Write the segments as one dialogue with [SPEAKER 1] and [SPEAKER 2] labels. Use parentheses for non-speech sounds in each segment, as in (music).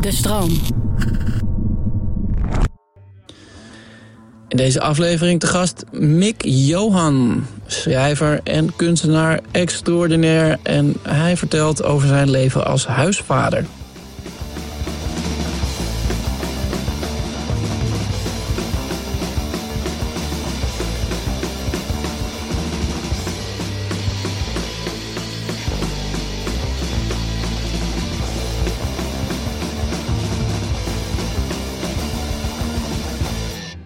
[SPEAKER 1] De stroom.
[SPEAKER 2] In deze aflevering te gast Mick Johan, schrijver en kunstenaar extraordinair. En hij vertelt over zijn leven als huisvader.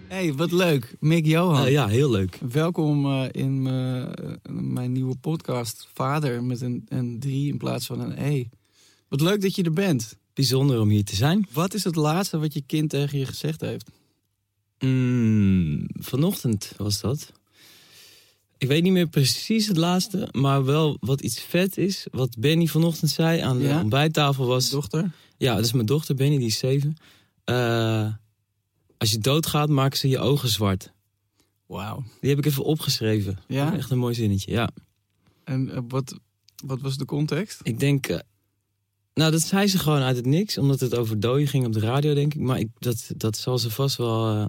[SPEAKER 3] Hey, wat leuk. Mick Johan.
[SPEAKER 4] Ah, ja, heel leuk.
[SPEAKER 3] Welkom eh, in mijn- eh, mijn nieuwe podcast Vader met een, een drie in plaats van een E. Wat leuk dat je er bent.
[SPEAKER 4] Bijzonder om hier te zijn.
[SPEAKER 3] Wat is het laatste wat je kind tegen je gezegd heeft?
[SPEAKER 4] Mm, vanochtend was dat. Ik weet niet meer precies het laatste, maar wel wat iets vet is. Wat Benny vanochtend zei aan de
[SPEAKER 3] Ja?
[SPEAKER 4] ontbijttafel was...
[SPEAKER 3] Dochter?
[SPEAKER 4] Ja, dat is mijn dochter Benny, die is zeven. Eh, als je doodgaat, maken ze je ogen zwart.
[SPEAKER 3] Wauw.
[SPEAKER 4] Die heb ik even opgeschreven.
[SPEAKER 3] Oh, Ja?
[SPEAKER 4] Echt een mooi zinnetje, ja.
[SPEAKER 3] En eh, wat, wat was de context?
[SPEAKER 4] Ik denk... eh, nou, dat zei ze gewoon uit het niks. Omdat het over doden ging op de radio, denk ik. Maar ik, dat, dat zal ze vast wel eh,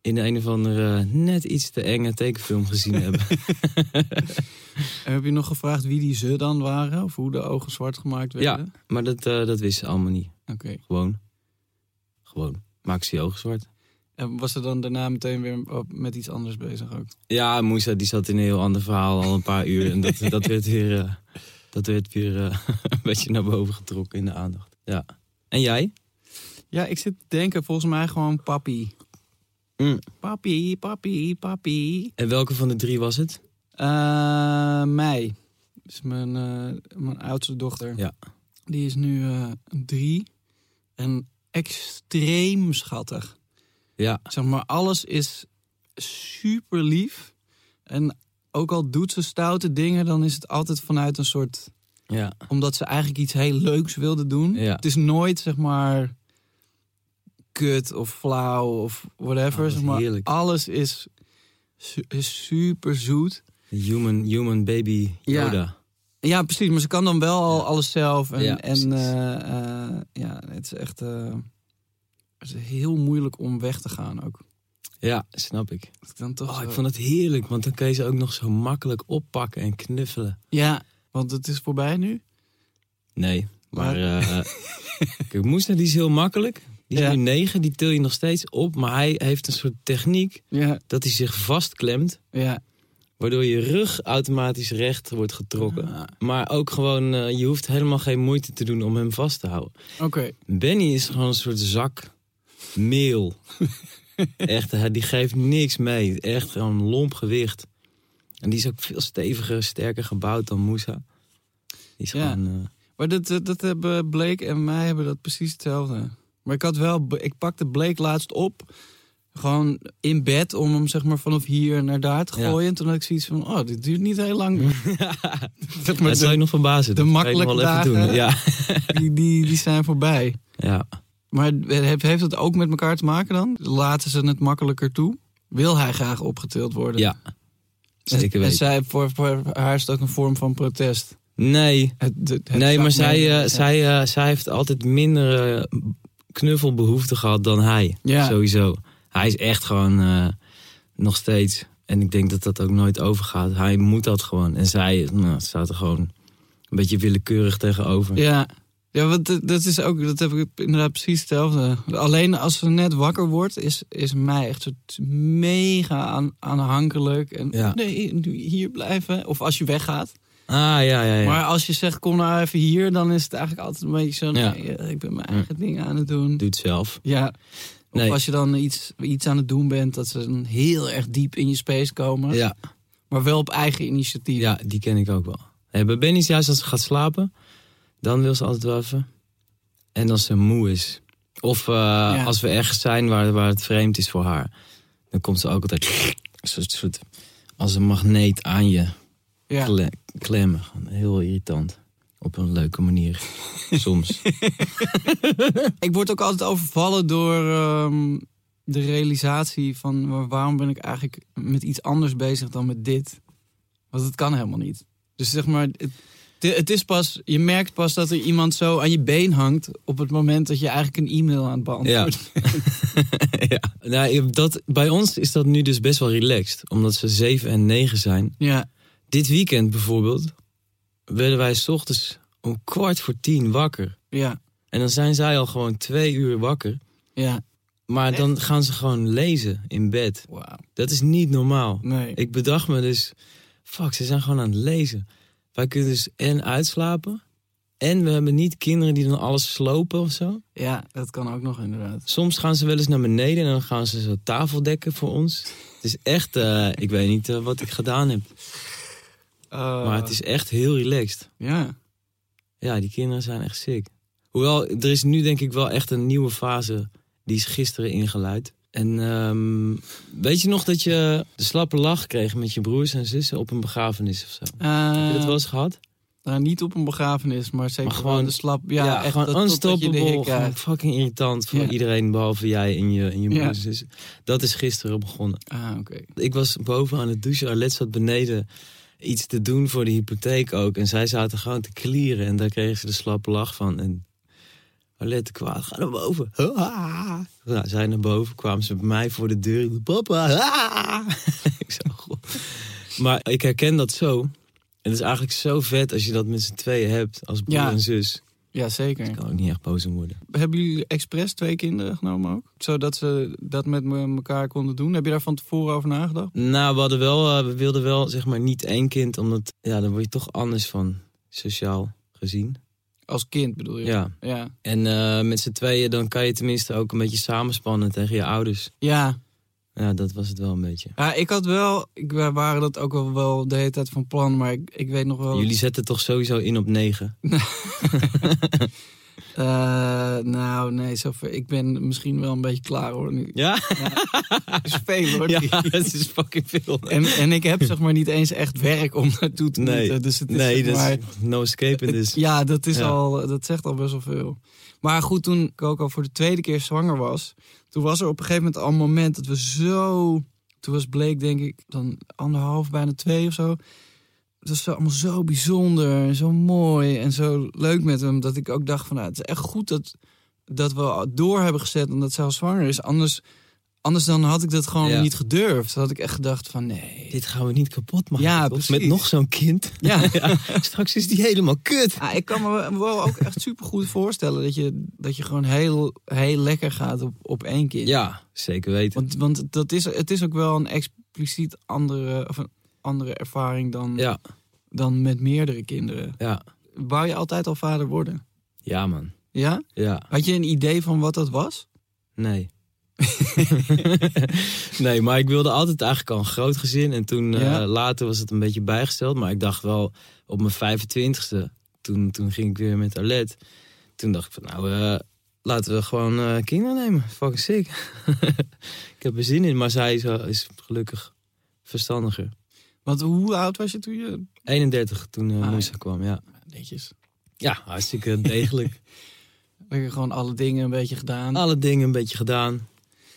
[SPEAKER 4] in een of andere eh, net iets te enge tekenfilm
[SPEAKER 3] (laughs)
[SPEAKER 4] gezien hebben.
[SPEAKER 3] En heb je nog gevraagd wie die ze dan waren? Of hoe de ogen zwart gemaakt werden?
[SPEAKER 4] Maar dat, eh, dat wist ze allemaal niet.
[SPEAKER 3] Oké.
[SPEAKER 4] Gewoon. Gewoon. Maak ze je ogen zwart.
[SPEAKER 3] En was ze dan daarna meteen weer op- met iets anders bezig ook?
[SPEAKER 4] Ja, Moesa die zat in een heel ander verhaal al een paar uur. En dat, dat werd weer, eh, dat werd weer eh, (laughs) een beetje naar boven getrokken in de aandacht. Ja. En jij?
[SPEAKER 3] Ja, ik zit te denken volgens mij gewoon papi.
[SPEAKER 4] Mm.
[SPEAKER 3] Papi, papi, papi.
[SPEAKER 4] En welke van de drie was het?
[SPEAKER 3] Eh mei. is mijn, eh, mijn oudste dochter.
[SPEAKER 4] Ja.
[SPEAKER 3] Die is nu eh, drie. En extreem schattig.
[SPEAKER 4] Ja.
[SPEAKER 3] Zeg maar, alles is super lief. En ook al doet ze stoute dingen, dan is het altijd vanuit een soort.
[SPEAKER 4] Ja.
[SPEAKER 3] omdat ze eigenlijk iets heel leuks wilde doen.
[SPEAKER 4] Ja.
[SPEAKER 3] Het is nooit, zeg maar. kut of flauw of
[SPEAKER 4] Oh,
[SPEAKER 3] whatever.
[SPEAKER 4] wat
[SPEAKER 3] zeg maar,
[SPEAKER 4] heerlijk.
[SPEAKER 3] alles is, su- is super zoet.
[SPEAKER 4] Human, human baby
[SPEAKER 3] Ja.
[SPEAKER 4] Yoda.
[SPEAKER 3] Ja, precies. Maar ze kan dan wel al alles zelf. En,
[SPEAKER 4] Ja,
[SPEAKER 3] en
[SPEAKER 4] precies.
[SPEAKER 3] eh, eh, ja, het is echt eh, het is heel moeilijk om weg te gaan ook.
[SPEAKER 4] Ja, snap ik.
[SPEAKER 3] Dat ik Dan toch
[SPEAKER 4] Oh,
[SPEAKER 3] zo-
[SPEAKER 4] ik vond het heerlijk, want dan kun je ze ook nog zo makkelijk oppakken en knuffelen.
[SPEAKER 3] Ja, want het is voorbij nu.
[SPEAKER 4] Nee, maar
[SPEAKER 3] Maar-
[SPEAKER 4] eh, (laughs) kijk, Moesna die is heel makkelijk. Die is
[SPEAKER 3] Ja.
[SPEAKER 4] nu negen, die til je nog steeds op. Maar hij heeft een soort techniek
[SPEAKER 3] Ja,
[SPEAKER 4] dat hij zich vastklemt.
[SPEAKER 3] ja.
[SPEAKER 4] Waardoor je rug automatisch recht wordt getrokken.
[SPEAKER 3] Ah,
[SPEAKER 4] Maar ook gewoon, eh, je hoeft helemaal geen moeite te doen om hem vast te houden.
[SPEAKER 3] Oké.
[SPEAKER 4] Benny is gewoon een soort zak
[SPEAKER 3] (laughs)
[SPEAKER 4] meel. Echt, hij- die geeft niks mee. Echt gewoon lomp gewicht. En die is ook veel steviger, sterker gebouwd dan Moussa. Die is
[SPEAKER 3] Ja.
[SPEAKER 4] gewoon... eh,
[SPEAKER 3] Maar dat, dat, dat hebben Blake en mij hebben dat precies hetzelfde. Maar ik had wel, ik pakte Blake laatst op. Gewoon in bed om hem zeg maar vanaf hier naar daar te
[SPEAKER 4] Ja.
[SPEAKER 3] gooien. En toen had ik zoiets van, oh, dit duurt niet heel
[SPEAKER 4] (laughs)
[SPEAKER 3] lang. dat maar
[SPEAKER 4] dat zou je nog verbazen.
[SPEAKER 3] de
[SPEAKER 4] Dat kan je nog
[SPEAKER 3] makkelijke
[SPEAKER 4] wel even doen. Ja.
[SPEAKER 3] die, die, die zijn voorbij.
[SPEAKER 4] ja.
[SPEAKER 3] Maar heeft, heeft dat ook met elkaar te maken dan? Laten ze het makkelijker toe? Wil hij graag opgetild worden?
[SPEAKER 4] Ja. Zeker
[SPEAKER 3] en, En
[SPEAKER 4] weten.
[SPEAKER 3] zij, voor, voor haar is het ook een vorm van protest.
[SPEAKER 4] Nee,
[SPEAKER 3] Het- het- het
[SPEAKER 4] nee
[SPEAKER 3] zak-
[SPEAKER 4] maar zij, eh,
[SPEAKER 3] Ja.
[SPEAKER 4] zij, eh, zij heeft altijd minder eh, knuffelbehoefte gehad dan hij.
[SPEAKER 3] Ja.
[SPEAKER 4] Sowieso. Hij is echt gewoon eh, nog steeds. En ik denk dat dat ook nooit overgaat. Hij moet dat gewoon. En zij nou, staat er gewoon een beetje willekeurig tegenover.
[SPEAKER 3] Ja, Ja, want dat- dat is ook, dat heb ik inderdaad precies hetzelfde. Alleen als ze net wakker wordt, is, is mij echt soort mega aan, aanhankelijk. En
[SPEAKER 4] Ja.
[SPEAKER 3] nee, nu hier blijven. Of als je weggaat.
[SPEAKER 4] Ah, ja, ja, ja.
[SPEAKER 3] Maar als je zegt, kom nou even hier, dan is het eigenlijk altijd een beetje zo'n,
[SPEAKER 4] Ja.
[SPEAKER 3] nee, eh, ik ben mijn eigen dingen aan het doen.
[SPEAKER 4] Doe het zelf.
[SPEAKER 3] Ja. Of
[SPEAKER 4] Nee.
[SPEAKER 3] als je dan iets, iets aan het doen bent, dat ze dan heel erg diep in je space komen.
[SPEAKER 4] Ja,
[SPEAKER 3] Maar wel op eigen initiatief.
[SPEAKER 4] ja, die ken ik ook wel. Hey, bij Benny is juist als ze gaat slapen, dan wil ze altijd wel even. En als ze moe is. Of eh, als we ergens zijn waar, waar het vreemd is voor haar. Dan komt ze ook altijd een soort, soort, als een magneet aan je
[SPEAKER 3] Ja.
[SPEAKER 4] kle- klemmen. Gewoon Heel irritant. Op een leuke manier. Soms.
[SPEAKER 3] Ik word ook altijd overvallen door ehm, de realisatie van wa- waarom ben ik eigenlijk met iets anders bezig dan met dit. Want het kan helemaal niet. Dus zeg maar, het, het- het is pas, je merkt pas dat er iemand zo aan je been hangt op het moment dat je eigenlijk een e-mail aan het beantwoorden bent.
[SPEAKER 4] ja. Nou, dat, bij ons is dat nu dus best wel relaxed. Omdat ze 7 en 9 zijn.
[SPEAKER 3] Ja.
[SPEAKER 4] Dit weekend bijvoorbeeld werden wij 's ochtends om kwart voor tien wakker.
[SPEAKER 3] Ja,
[SPEAKER 4] En dan zijn zij al gewoon twee uur wakker.
[SPEAKER 3] ja.
[SPEAKER 4] Maar dan gaan ze gewoon lezen in bed.
[SPEAKER 3] Wauw.
[SPEAKER 4] Dat is niet normaal.
[SPEAKER 3] Nee.
[SPEAKER 4] Ik bedacht me dus, fuck, ze zijn gewoon aan het lezen. Wij kunnen dus en uitslapen. En we hebben niet kinderen die dan alles slopen of zo.
[SPEAKER 3] Ja, dat kan ook nog inderdaad.
[SPEAKER 4] Soms gaan ze wel eens naar beneden en dan gaan ze zo tafel dekken voor ons. Het is echt, eh, ik weet niet eh, wat ik gedaan heb. Maar het is echt heel relaxed.
[SPEAKER 3] Ja.
[SPEAKER 4] Ja, die kinderen zijn echt sick. Hoewel, er is nu denk ik wel echt een nieuwe fase. Die is gisteren ingeluid. En ehm, weet je nog dat je de slappe lach kreeg met je broers en zussen op een begrafenis of zo? Heb
[SPEAKER 3] Eh,
[SPEAKER 4] je dat wel eens gehad?
[SPEAKER 3] Nou, niet op een begrafenis, maar zeker
[SPEAKER 4] Maar gewoon-
[SPEAKER 3] gewoon de slap. Ja, echt
[SPEAKER 4] gewoon
[SPEAKER 3] dat, totdat je de
[SPEAKER 4] unstoppable.
[SPEAKER 3] hik
[SPEAKER 4] gewoon
[SPEAKER 3] krijgt.
[SPEAKER 4] fucking irritant voor
[SPEAKER 3] Ja.
[SPEAKER 4] iedereen behalve jij en je, en je
[SPEAKER 3] Ja.
[SPEAKER 4] broers en zussen. Dat is gisteren begonnen.
[SPEAKER 3] Ah, oké.
[SPEAKER 4] Ik was boven aan het douchen. Arlet zat beneden iets te doen voor de hypotheek ook. En zij zaten gewoon te klieren. En daar kregen ze de slappe lach van. En Arlet kwaad, ga naar boven. (laughs) Nou, zij naar boven kwamen ze bij mij voor de deur. Papa, (laughs) ah! ik zo, "God." Maar ik herken dat zo. En het is eigenlijk zo vet als je dat met z'n tweeën hebt. Als broer
[SPEAKER 3] Ja.
[SPEAKER 4] en zus.
[SPEAKER 3] Ja, zeker.
[SPEAKER 4] Ik kan ook niet echt boos om worden.
[SPEAKER 3] Hebben jullie expres twee kinderen genomen ook? Zodat ze dat met me- elkaar konden doen? Heb je daar van tevoren over nagedacht?
[SPEAKER 4] Nou, we, hadden wel, eh, we wilden wel zeg maar niet één kind. Omdat ja, daar word je toch anders van. Sociaal gezien.
[SPEAKER 3] Als kind bedoel je?
[SPEAKER 4] Ja.
[SPEAKER 3] Ja,
[SPEAKER 4] En eh, met z'n tweeën, dan kan je tenminste ook een beetje samenspannen tegen je ouders.
[SPEAKER 3] ja.
[SPEAKER 4] Ja, dat was het wel een beetje.
[SPEAKER 3] Ja, ik had wel... Ik, wij waren dat ook wel, wel de hele tijd van plan, maar ik, ik weet nog wel...
[SPEAKER 4] Jullie zetten toch sowieso in op negen?
[SPEAKER 3] Eh, nou, nee, zover. Ik ben misschien wel een beetje klaar hoor nu.
[SPEAKER 4] (laughs) Ja?
[SPEAKER 3] Het is veel hoor.
[SPEAKER 4] Ja, dat is fucking veel.
[SPEAKER 3] En, en ik heb zeg maar niet eens echt werk om naartoe te
[SPEAKER 4] Nee,
[SPEAKER 3] moeten. Dus het is
[SPEAKER 4] nee
[SPEAKER 3] zeg
[SPEAKER 4] dat
[SPEAKER 3] maar...
[SPEAKER 4] is no escape in
[SPEAKER 3] Het-
[SPEAKER 4] this.
[SPEAKER 3] (laughs) Ja, dat, is
[SPEAKER 4] Ja.
[SPEAKER 3] Al, dat zegt al best wel veel. Maar goed, toen ik ook al voor de tweede keer zwanger was... toen was er op een gegeven moment al een moment dat we zo... Toen was Blake denk ik dan anderhalf, bijna twee of zo. Het was zo- allemaal zo bijzonder en zo mooi en zo leuk met hem... dat ik ook dacht van, nou, het is echt goed dat, dat we al door hebben gezet... omdat zij al zwanger is. Anders, anders dan had ik dat gewoon
[SPEAKER 4] Ja.
[SPEAKER 3] niet gedurfd. Dan had ik echt gedacht van, nee...
[SPEAKER 4] Dit gaan we niet kapot maken.
[SPEAKER 3] Ja,
[SPEAKER 4] toch?
[SPEAKER 3] precies.
[SPEAKER 4] Met nog zo'n kind. (laughs)
[SPEAKER 3] Ja.
[SPEAKER 4] Ja, straks is die helemaal kut.
[SPEAKER 3] Ja, ik kan me wel ook echt supergoed voorstellen dat je, dat je gewoon heel, heel lekker gaat op, op één kind.
[SPEAKER 4] Ja, zeker weten.
[SPEAKER 3] Want, want dat is, het is ook wel een expliciet andere, of een andere ervaring dan,
[SPEAKER 4] Ja,
[SPEAKER 3] dan met meerdere kinderen.
[SPEAKER 4] ja.
[SPEAKER 3] Wou je altijd al vader worden?
[SPEAKER 4] Ja, man.
[SPEAKER 3] Ja?
[SPEAKER 4] Ja,
[SPEAKER 3] Had je een idee van wat dat was?
[SPEAKER 4] nee. (laughs) nee, maar ik wilde altijd eigenlijk al een groot gezin. En toen eh,
[SPEAKER 3] Ja.
[SPEAKER 4] later was het een beetje bijgesteld. Maar ik dacht wel, op mijn 25ste, toen, toen ging ik weer met Arlet. Toen dacht ik van, nou, eh, laten we gewoon eh, kinderen nemen. Fucking sick. (laughs) ik heb er zin in, maar zij is, eh, is gelukkig verstandiger.
[SPEAKER 3] Want hoe oud was je toen je...
[SPEAKER 4] 31 toen eh
[SPEAKER 3] Ah, ja.
[SPEAKER 4] Moesa kwam, ja.
[SPEAKER 3] Netjes.
[SPEAKER 4] Ja,
[SPEAKER 3] (laughs)
[SPEAKER 4] hartstikke degelijk.
[SPEAKER 3] Lekker gewoon alle dingen een beetje gedaan.
[SPEAKER 4] Alle dingen een beetje gedaan.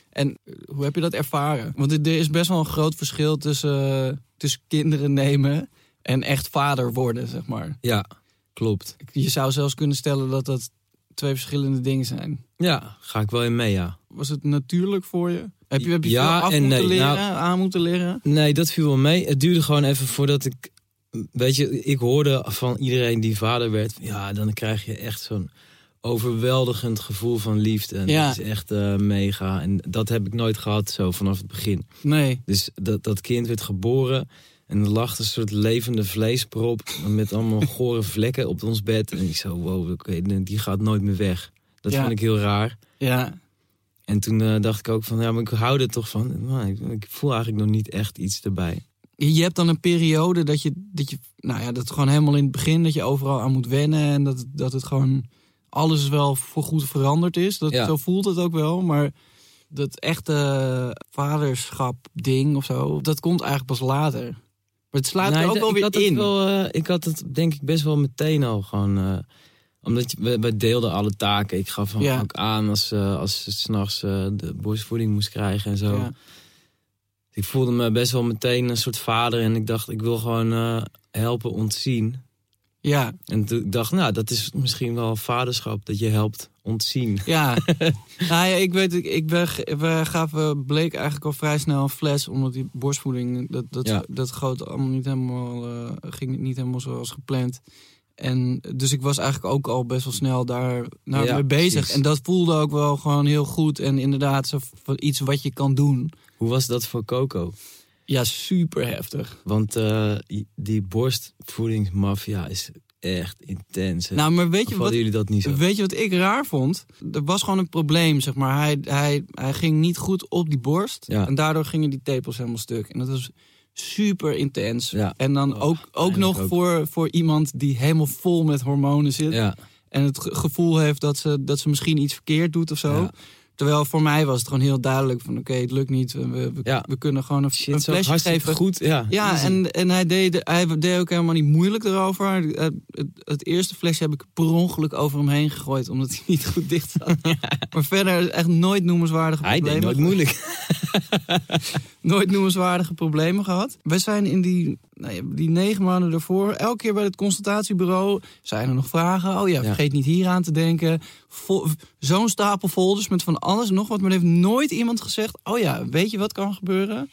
[SPEAKER 3] En hoe heb je dat ervaren? Want er er is best wel een groot verschil tussen, eh, tussen kinderen nemen en echt vader worden, zeg maar.
[SPEAKER 4] Ja, klopt.
[SPEAKER 3] Je zou zelfs kunnen stellen dat dat twee verschillende dingen zijn.
[SPEAKER 4] Ja, ga ik wel in mee, ja.
[SPEAKER 3] Was het natuurlijk voor je? Heb je, heb je
[SPEAKER 4] Ja
[SPEAKER 3] veel af
[SPEAKER 4] en
[SPEAKER 3] moeten
[SPEAKER 4] nee.
[SPEAKER 3] leren,
[SPEAKER 4] Nou-
[SPEAKER 3] aan moeten leren?
[SPEAKER 4] Nee, dat viel wel mee. Het duurde gewoon even voordat ik weet je, ik hoorde van iedereen die vader werd, ja, dan krijg je echt zo'n overweldigend gevoel van liefde. En
[SPEAKER 3] Ja.
[SPEAKER 4] Dat is echt eh, mega. En dat heb ik nooit gehad zo vanaf het begin.
[SPEAKER 3] Nee.
[SPEAKER 4] Dus dat, dat kind werd geboren en er lag een soort levende vleesprop
[SPEAKER 3] (laughs)
[SPEAKER 4] met allemaal gore vlekken op ons bed. En ik zo, wow, oké, die gaat nooit meer weg. Dat
[SPEAKER 3] Ja.
[SPEAKER 4] vond ik heel raar.
[SPEAKER 3] Ja.
[SPEAKER 4] En toen eh, dacht ik ook van, ja, maar ik hou er toch van. Maar ik, ik voel eigenlijk nog niet echt iets erbij.
[SPEAKER 3] Je hebt dan een periode dat je, dat je, nou ja, dat gewoon helemaal in het begin, dat je overal aan moet wennen en dat, dat het gewoon alles wel voorgoed veranderd is. Dat,
[SPEAKER 4] Ja.
[SPEAKER 3] Zo voelt het ook wel, maar dat echte vaderschap-ding of zo, dat komt eigenlijk pas later. Maar het slaat
[SPEAKER 4] Nee,
[SPEAKER 3] er ook
[SPEAKER 4] Nou, ik-
[SPEAKER 3] wel
[SPEAKER 4] ik
[SPEAKER 3] weer
[SPEAKER 4] had het
[SPEAKER 3] in.
[SPEAKER 4] wel, eh, ik had het denk ik best wel meteen al gewoon... eh, omdat je, we, we deelden alle taken. Ik gaf hem
[SPEAKER 3] Ja.
[SPEAKER 4] ook aan als, eh, als ze s'nachts eh de borstvoeding moest krijgen en zo.
[SPEAKER 3] Ja.
[SPEAKER 4] Ik voelde me best wel meteen een soort vader. En ik dacht, ik wil gewoon eh, helpen ontzien.
[SPEAKER 3] ja,
[SPEAKER 4] En toen ik dacht, nou, dat is misschien wel vaderschap. Dat je helpt ontzien.
[SPEAKER 3] Ja.
[SPEAKER 4] (laughs)
[SPEAKER 3] nou ja, ik weet, ik, ik ben, ge- we gaven Blake eigenlijk al vrij snel een fles, omdat die borstvoeding, dat, dat,
[SPEAKER 4] Ja.
[SPEAKER 3] dat goot allemaal niet helemaal, eh, ging niet helemaal zoals gepland. En dus ik was eigenlijk ook al best wel snel daar naar
[SPEAKER 4] Ja,
[SPEAKER 3] mee bezig.
[SPEAKER 4] precies.
[SPEAKER 3] En dat voelde ook wel gewoon heel goed. En inderdaad, zo van iets wat je kan doen.
[SPEAKER 4] Hoe was dat voor Coco?
[SPEAKER 3] Ja, super heftig.
[SPEAKER 4] Want eh, die borstvoedingsmafia is echt intens. hè?
[SPEAKER 3] Nou, maar weet
[SPEAKER 4] Of
[SPEAKER 3] je
[SPEAKER 4] hadden
[SPEAKER 3] wat?
[SPEAKER 4] jullie dat niet zo?
[SPEAKER 3] Weet je wat ik raar vond? Er was gewoon een probleem, zeg maar. Hij, hij, hij ging niet goed op die borst.
[SPEAKER 4] Ja.
[SPEAKER 3] En daardoor gingen die tepels helemaal stuk. En dat was super intens.
[SPEAKER 4] Ja.
[SPEAKER 3] En dan
[SPEAKER 4] Oh,
[SPEAKER 3] ook, ook
[SPEAKER 4] pijnlijk
[SPEAKER 3] nog
[SPEAKER 4] ook.
[SPEAKER 3] Voor, voor iemand die helemaal vol met hormonen zit.
[SPEAKER 4] Ja,
[SPEAKER 3] En het ge- gevoel heeft dat ze, dat ze misschien iets verkeerd doet of zo.
[SPEAKER 4] Ja.
[SPEAKER 3] Terwijl voor mij was het gewoon heel duidelijk van... oké, het lukt niet. We, we,
[SPEAKER 4] Ja.
[SPEAKER 3] we kunnen gewoon een,
[SPEAKER 4] shit,
[SPEAKER 3] een
[SPEAKER 4] zo
[SPEAKER 3] flesje
[SPEAKER 4] hartstikke
[SPEAKER 3] geven.
[SPEAKER 4] goed. Ja,
[SPEAKER 3] Ja,
[SPEAKER 4] easy.
[SPEAKER 3] en, en hij, deed, hij deed ook helemaal niet moeilijk erover. Het, het, het eerste flesje heb ik per ongeluk over hem heen gegooid, omdat hij niet goed dicht zat.
[SPEAKER 4] (laughs)
[SPEAKER 3] Maar verder echt nooit noemenswaardige
[SPEAKER 4] Hij
[SPEAKER 3] problemen.
[SPEAKER 4] deed nooit moeilijk. (laughs)
[SPEAKER 3] nooit noemenswaardige problemen gehad. We zijn in die, nou ja, die negen maanden daarvoor, elke keer bij het consultatiebureau, zijn er nog vragen. Oh ja,
[SPEAKER 4] Ja.
[SPEAKER 3] vergeet niet hier aan te denken. Vol- Zo'n stapel folders met van alles en nog wat, maar er heeft nooit iemand gezegd, oh ja, weet je wat kan gebeuren?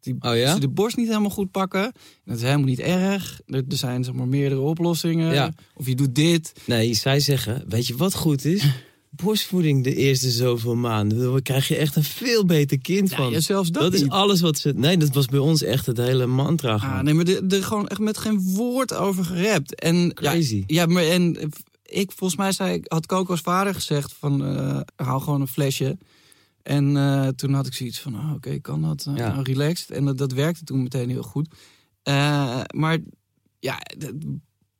[SPEAKER 3] Die,
[SPEAKER 4] Oh ja?
[SPEAKER 3] Ze de borst niet helemaal goed pakken. En Dat is helemaal niet erg. Er, er zijn zeg maar meerdere oplossingen.
[SPEAKER 4] Ja.
[SPEAKER 3] Of je doet dit.
[SPEAKER 4] Nee, zij zeggen, weet je wat
[SPEAKER 3] (laughs)
[SPEAKER 4] goed is? Borstvoeding de eerste zoveel maanden. Dan krijg je echt een veel beter kind
[SPEAKER 3] Ja,
[SPEAKER 4] van.
[SPEAKER 3] ja, zelfs dat,
[SPEAKER 4] dat is
[SPEAKER 3] niet.
[SPEAKER 4] alles wat ze... Nee, dat was bij ons echt het hele mantra.
[SPEAKER 3] Ah,
[SPEAKER 4] gewoon.
[SPEAKER 3] nee, maar er er gewoon echt met geen woord over gerept. En,
[SPEAKER 4] Crazy.
[SPEAKER 3] Ja, ja, maar en ik, volgens mij zei, ik- had Coco's vader gezegd van, eh hou gewoon een flesje. En eh, toen had ik zoiets van, ah, oké, kan dat? eh,
[SPEAKER 4] Ja.
[SPEAKER 3] nou, relaxed. En dat, dat werkte toen meteen heel goed. Eh, maar ja, d-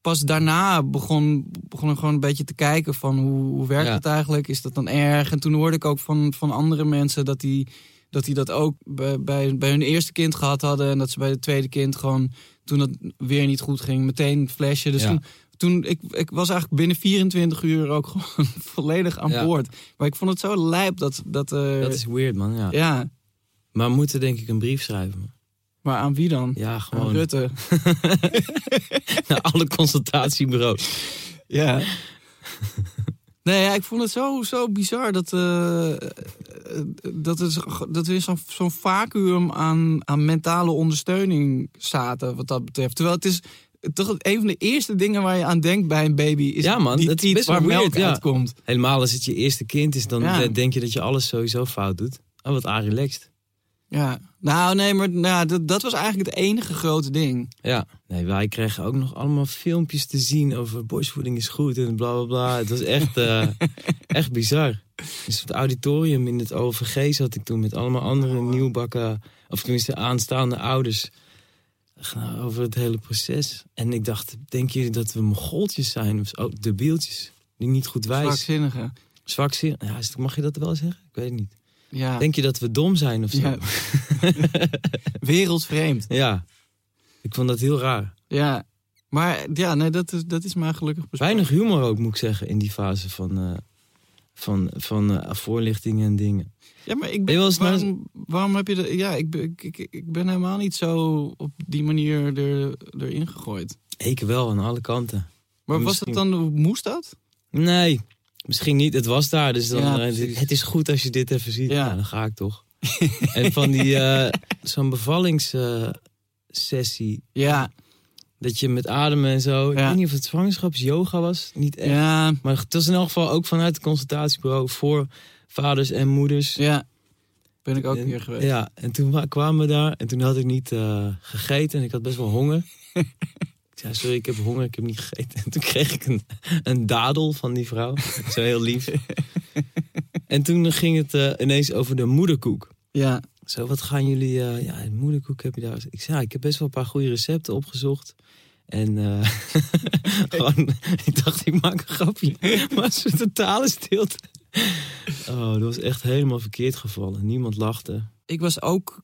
[SPEAKER 3] pas daarna begon, begon ik gewoon een beetje te kijken van, hoe, hoe werkt
[SPEAKER 4] Ja.
[SPEAKER 3] het eigenlijk? Is dat dan erg? En toen hoorde ik ook van, van andere mensen dat die dat die dat ook bij, bij, bij hun eerste kind gehad hadden. En dat ze bij het tweede kind gewoon, toen dat weer niet goed ging, meteen een flesje. Dus
[SPEAKER 4] Ja.
[SPEAKER 3] toen, toen ik, ik was eigenlijk binnen 24 uur ook (laughs) gewoon volledig aan
[SPEAKER 4] Ja.
[SPEAKER 3] boord. Maar ik vond het zo lijp dat... Dat, eh,
[SPEAKER 4] Dat is weird, man. Ja.
[SPEAKER 3] Ja,
[SPEAKER 4] Maar we moeten denk ik een brief schrijven. man.
[SPEAKER 3] maar aan wie dan?
[SPEAKER 4] Ja,
[SPEAKER 3] Aan
[SPEAKER 4] gewoon.
[SPEAKER 3] Rutte.
[SPEAKER 4] (laughs) Naar alle consultatiebureaus.
[SPEAKER 3] Ja. (laughs) Nee, ja, ik vond het zo, zo bizar dat, eh, eh, dat, het, dat we in zo'n zo'n vacuüm aan, aan mentale ondersteuning zaten, wat dat betreft. Terwijl het is toch een van de eerste dingen waar je aan denkt bij een baby, is
[SPEAKER 4] Ja, man,
[SPEAKER 3] die
[SPEAKER 4] dat is
[SPEAKER 3] tiet
[SPEAKER 4] best wel
[SPEAKER 3] waar melk
[SPEAKER 4] weird, ja.
[SPEAKER 3] uitkomt.
[SPEAKER 4] Helemaal als het je eerste kind is, dan
[SPEAKER 3] Ja.
[SPEAKER 4] eh, denk je dat je alles sowieso fout doet. Oh, wat aanrelaxed.
[SPEAKER 3] Ja. Nou, nee, maar nou, dat, dat was eigenlijk het enige grote ding.
[SPEAKER 4] Ja. Nee, wij kregen ook nog allemaal filmpjes te zien over borstvoeding is goed en bla bla bla. Het was echt,
[SPEAKER 3] (laughs)
[SPEAKER 4] eh, echt bizar. Dus op het auditorium in het OVG zat ik toen met allemaal andere
[SPEAKER 3] Oh.
[SPEAKER 4] nieuwbakken, of tenminste aanstaande ouders. eh, Over het hele proces. En ik dacht, denken jullie dat we mogoltjes zijn? Of oh, debieltjes, die niet goed wijs.
[SPEAKER 3] Zwakzinnige.
[SPEAKER 4] Zwakzin. Ja, is- mag je dat wel zeggen? Ik weet het niet.
[SPEAKER 3] Ja.
[SPEAKER 4] Denk je dat we dom zijn of zo?
[SPEAKER 3] Ja. Wereldvreemd.
[SPEAKER 4] Ja. Ik vond dat heel raar.
[SPEAKER 3] Ja. Maar ja, nee, dat is, dat is maar gelukkig besproken.
[SPEAKER 4] Dus Weinig humor ook, moet ik zeggen, in die fase van, eh, van, van eh, voorlichting en dingen.
[SPEAKER 3] Ja, maar ik
[SPEAKER 4] Ben
[SPEAKER 3] ben,
[SPEAKER 4] je wel eens naar-
[SPEAKER 3] waarom, waarom heb je dat... Ja, ik, ben- ik, ik, ik ben helemaal niet zo op die manier er, erin gegooid.
[SPEAKER 4] Ik wel, aan alle kanten.
[SPEAKER 3] Maar was
[SPEAKER 4] Misschien-
[SPEAKER 3] dat dan... Moest dat?
[SPEAKER 4] Nee, misschien niet. Het was daar, dus dan,
[SPEAKER 3] Ja,
[SPEAKER 4] eh,
[SPEAKER 3] precies.
[SPEAKER 4] het is goed als je dit even ziet.
[SPEAKER 3] Ja.
[SPEAKER 4] Ja, dan ga ik toch.
[SPEAKER 3] (laughs)
[SPEAKER 4] en van die, eh, zo'n bevallingssessie,
[SPEAKER 3] Ja.
[SPEAKER 4] Dat je met ademen en zo. Ik
[SPEAKER 3] Ja.
[SPEAKER 4] weet niet of het zwangerschapsyoga was. Niet echt.
[SPEAKER 3] Ja,
[SPEAKER 4] Maar het was in elk geval ook vanuit het consultatiebureau voor vaders en moeders.
[SPEAKER 3] ja. Ben ik ook
[SPEAKER 4] En-
[SPEAKER 3] hier geweest.
[SPEAKER 4] Ja, en toen wa- kwamen we daar en toen had ik niet eh, gegeten en ik had best wel
[SPEAKER 3] (laughs)
[SPEAKER 4] honger. ik zei, sorry, ik heb honger, ik heb niet gegeten. En toen kreeg ik een, een dadel van die vrouw. Zo heel
[SPEAKER 3] (laughs)
[SPEAKER 4] lief. en toen ging het eh, ineens over de moederkoek.
[SPEAKER 3] Ja,
[SPEAKER 4] Zo, wat gaan jullie... eh, ja, een moederkoek heb je daar. Ik zei, ja, ik heb best wel een paar goede recepten opgezocht. En eh, (laughs) gewoon, ik dacht, ik maak een grapje. Maar ze totale stilte. Oh, dat was echt helemaal verkeerd gevallen. Niemand lachte.
[SPEAKER 3] ik was ook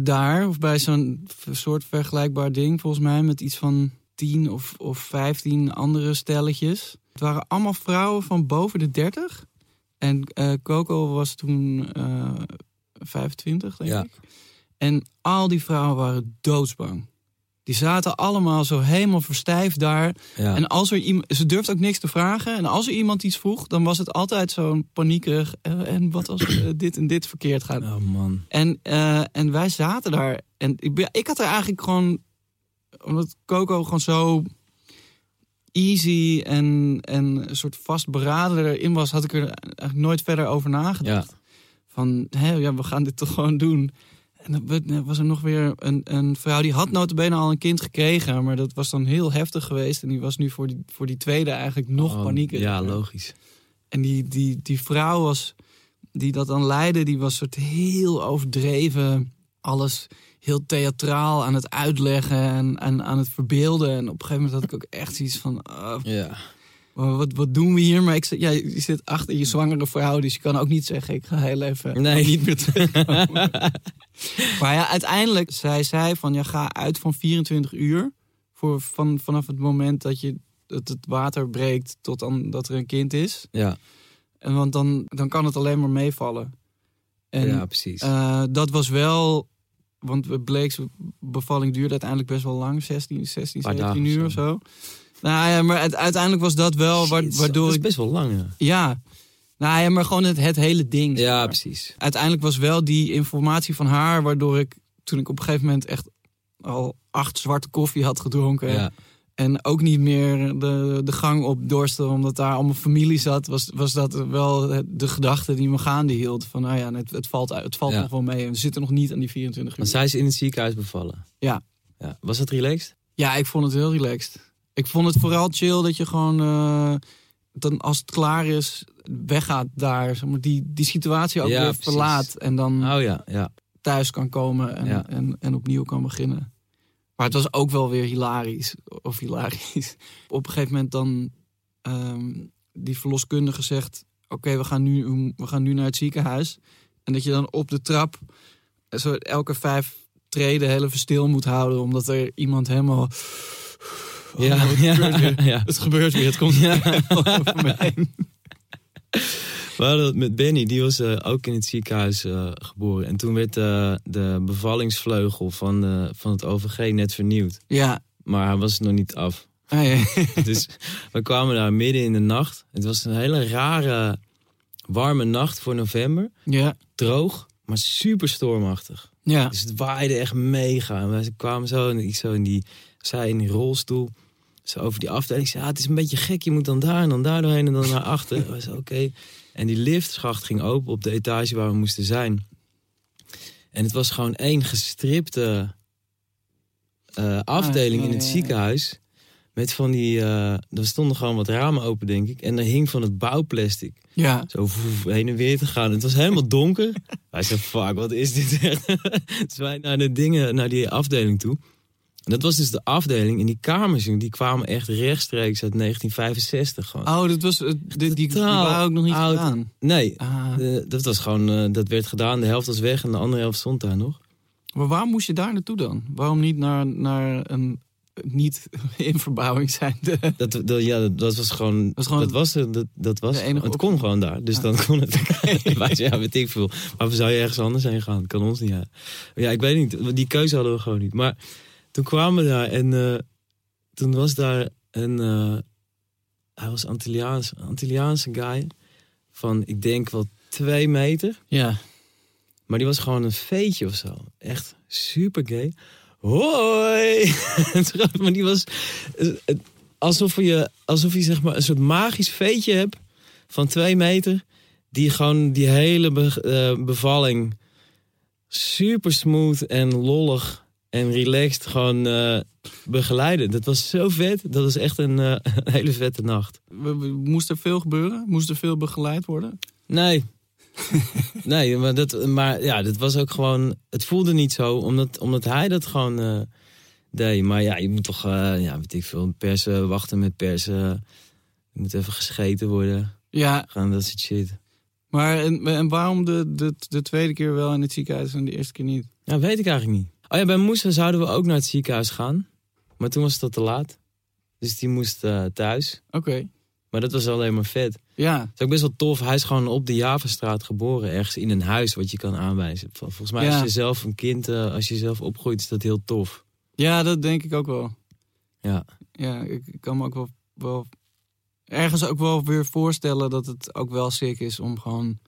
[SPEAKER 3] daar, of bij zo'n v- soort vergelijkbaar ding, volgens mij, met iets van tien of, of vijftien andere stelletjes. Het waren allemaal vrouwen van boven de 30. En eh, Coco was toen eh 25, denk
[SPEAKER 4] Ja.
[SPEAKER 3] ik. En al die vrouwen waren doodsbang. Die zaten allemaal zo helemaal verstijfd daar.
[SPEAKER 4] Ja.
[SPEAKER 3] En als er iemand, ze durft ook niks te vragen. En als er iemand iets vroeg, dan was het altijd zo'n paniekerig. eh, en wat als eh, dit en dit verkeerd gaat?
[SPEAKER 4] Oh man.
[SPEAKER 3] En, eh, en wij zaten daar. En ik, ben- ik had er eigenlijk gewoon. Omdat Coco gewoon zo easy en, en een soort vastberaden erin was, had ik er eigenlijk nooit verder over nagedacht. Van hé, ja, we gaan dit toch gewoon doen. En dan werd- was er nog weer een, een vrouw die had notabene al een kind gekregen, maar dat was dan heel heftig geweest. En die was nu voor die, voor die tweede eigenlijk nog
[SPEAKER 4] Oh,
[SPEAKER 3] panieker.
[SPEAKER 4] Ja, logisch.
[SPEAKER 3] En die, die, die vrouw was, die dat dan leidde, die was soort heel overdreven. Alles heel theatraal aan het uitleggen en, en aan het verbeelden. En op een gegeven moment had ik ook echt zoiets van... ah,
[SPEAKER 4] Ja.
[SPEAKER 3] wat, wat doen we hier? Maar ik, zei, ja, je zit achter je zwangere vrouw, dus je kan ook niet zeggen... ik ga heel even
[SPEAKER 4] (laughs) Nee.
[SPEAKER 3] niet meer terugkomen. maar ja, uiteindelijk zei zij van... ja, ga uit van 24 uur. Voor, van, vanaf het moment dat, je, dat het water breekt tot aan dat er een kind is.
[SPEAKER 4] (laughs) Ja,
[SPEAKER 3] En want dan, dan kan het alleen maar meevallen. En
[SPEAKER 4] ja precies.
[SPEAKER 3] eh, dat was wel. Want we Blake's bevalling duurde uiteindelijk best wel lang, 16, 16
[SPEAKER 4] Paar
[SPEAKER 3] 17
[SPEAKER 4] dagen
[SPEAKER 3] uur
[SPEAKER 4] of
[SPEAKER 3] of zo. Nou ja, maar het- uiteindelijk was dat wel wa-
[SPEAKER 4] Shit, zo,
[SPEAKER 3] waardoor
[SPEAKER 4] Dat is
[SPEAKER 3] ik.
[SPEAKER 4] best wel lang, ja.
[SPEAKER 3] Ja, nou ja, maar gewoon het, het hele ding. zeg
[SPEAKER 4] Ja,
[SPEAKER 3] maar.
[SPEAKER 4] precies.
[SPEAKER 3] Uiteindelijk was wel die informatie van haar, waardoor ik toen ik op een gegeven moment echt al acht zwarte koffie had gedronken.
[SPEAKER 4] Ja.
[SPEAKER 3] En ook niet meer de, de gang op dorsten, omdat daar allemaal familie zat. Was, was dat wel het- de gedachte die me gaande hield. Van nou ja, het, het valt, uit- het valt
[SPEAKER 4] Ja.
[SPEAKER 3] nog wel mee. En we zitten nog niet aan die 24 uur.
[SPEAKER 4] Want zij is in het ziekenhuis bevallen.
[SPEAKER 3] Ja.
[SPEAKER 4] ja. Was dat relaxed?
[SPEAKER 3] Ja, ik vond het heel relaxed. Ik vond het vooral chill dat je gewoon... eh, dan als het klaar is, weggaat daar. Zeg maar, die, die situatie ook
[SPEAKER 4] Ja,
[SPEAKER 3] weer
[SPEAKER 4] precies.
[SPEAKER 3] verlaat. En dan
[SPEAKER 4] Oh ja, ja.
[SPEAKER 3] thuis kan komen en,
[SPEAKER 4] Ja.
[SPEAKER 3] en, en opnieuw kan beginnen. Maar het was ook wel weer hilarisch. Of hilarisch. (laughs) Op een gegeven moment dan ehm, die verloskundige zegt... oké, we gaan we, we gaan nu naar het ziekenhuis. En dat je dan op de trap eh, zo elke vijf treden heel even stil moet houden... omdat er iemand helemaal... Oh,
[SPEAKER 4] (laughs) Ja,
[SPEAKER 3] het gebeurt
[SPEAKER 4] ja,
[SPEAKER 3] weer.
[SPEAKER 4] ja.
[SPEAKER 3] Het gebeurt weer, (laughs) het komt over me heen.
[SPEAKER 4] We hadden het met Benny, die was eh, ook in het ziekenhuis eh, geboren. En toen werd eh, de bevallingsvleugel van, eh, van het OVG net vernieuwd.
[SPEAKER 3] Ja,
[SPEAKER 4] Maar hij was nog niet af.
[SPEAKER 3] Ah, ja.
[SPEAKER 4] (laughs) Dus we kwamen daar midden in de nacht. Het was een hele rare, warme nacht voor november.
[SPEAKER 3] ja,
[SPEAKER 4] Droog, maar super stormachtig.
[SPEAKER 3] ja.
[SPEAKER 4] Dus het waaide echt mega. En wij kwamen zo en ik zo in die, zij in die rolstoel. Zo over die afdeling. Ik zei, ah, het is een beetje gek. Je moet dan daar en dan daar doorheen en dan naar achter.
[SPEAKER 3] (laughs)
[SPEAKER 4] Ik zei, oké. En die liftschacht ging open op de etage waar we moesten zijn. En het was gewoon één gestripte eh, afdeling in het
[SPEAKER 3] Ah, ja, ja.
[SPEAKER 4] ziekenhuis. Met van die, eh, er stonden gewoon wat ramen open, denk ik. En er hing van het bouwplastic
[SPEAKER 3] ja.
[SPEAKER 4] zo voef, heen en weer te gaan. Het was helemaal donker. Hij zei, fuck, wat is dit echt? (laughs) dus wij naar de dingen, naar die afdeling toe. En dat was dus de afdeling. En die kamers, jongen, die kwamen echt rechtstreeks uit 1965 gewoon.
[SPEAKER 3] Oh, dat was, eh, die, die, die
[SPEAKER 4] Totaal
[SPEAKER 3] waren ook nog niet
[SPEAKER 4] oud.
[SPEAKER 3] gedaan.
[SPEAKER 4] Nee,
[SPEAKER 3] Ah.
[SPEAKER 4] eh, dat was gewoon, eh, dat werd gedaan. De helft was weg en de andere helft stond daar nog.
[SPEAKER 3] Maar waarom moest je daar naartoe dan? Waarom niet naar, naar een niet (laughs) in verbouwing zijnde?
[SPEAKER 4] (laughs) Dat, dat, ja, dat, dat was gewoon,
[SPEAKER 3] was gewoon
[SPEAKER 4] dat was, er, dat, dat was
[SPEAKER 3] de enige
[SPEAKER 4] het kon gewoon daar. Dus dan kon het.
[SPEAKER 3] (laughs)
[SPEAKER 4] (laughs) wij zeiden, ja, weet ik veel. Maar we zouden ergens anders heen gaan. Kan ons niet uit. Ja, ik weet niet. Die keuze hadden we gewoon niet. Maar toen kwamen we daar en eh, toen was daar een. eh, hij was Antilliaans, Antilliaanse guy. Van, ik denk wel twee meter.
[SPEAKER 3] Ja.
[SPEAKER 4] Maar die was gewoon een veetje of zo. Echt super gay. hoi. (laughs) maar die was eh, eh, alsof je, alsof je zeg maar een soort magisch veetje hebt van twee meter. Die gewoon die hele be- eh, bevalling super smooth en lollig en relaxed gewoon eh, begeleiden. Dat was zo vet. Dat was echt een, eh, (laughs) een hele vette nacht.
[SPEAKER 3] We- we- Moest er veel gebeuren? Moest er veel begeleid worden?
[SPEAKER 4] Nee. (laughs) nee, maar, dat, maar ja, dat was ook gewoon. Het voelde niet zo, omdat, omdat hij dat gewoon eh, deed. Maar ja, je moet toch, eh, ja, weet ik veel, persen, wachten met persen. Je moet even gescheten worden.
[SPEAKER 3] Ja,
[SPEAKER 4] Gaan dat soort shit.
[SPEAKER 3] maar en, en waarom de, de, de tweede keer wel in het ziekenhuis en de eerste keer niet?
[SPEAKER 4] Nou, weet ik eigenlijk niet. Oh ja, bij Moesa zouden we ook naar het ziekenhuis gaan. Maar toen was dat te laat. Dus die moest eh, thuis.
[SPEAKER 3] Oké,
[SPEAKER 4] Maar dat was alleen maar vet. Het
[SPEAKER 3] ja.
[SPEAKER 4] is ook best wel tof. Hij is gewoon op de Javastraat geboren. Ergens in een huis wat je kan aanwijzen. Vol- Volgens mij
[SPEAKER 3] Ja.
[SPEAKER 4] als je zelf een kind, eh, als je zelf opgroeit, is dat heel tof.
[SPEAKER 3] Ja, dat denk ik ook wel.
[SPEAKER 4] Ja.
[SPEAKER 3] Ja, ik ik kan me ook wel, wel ergens ook wel weer voorstellen dat het ook wel sick is om gewoon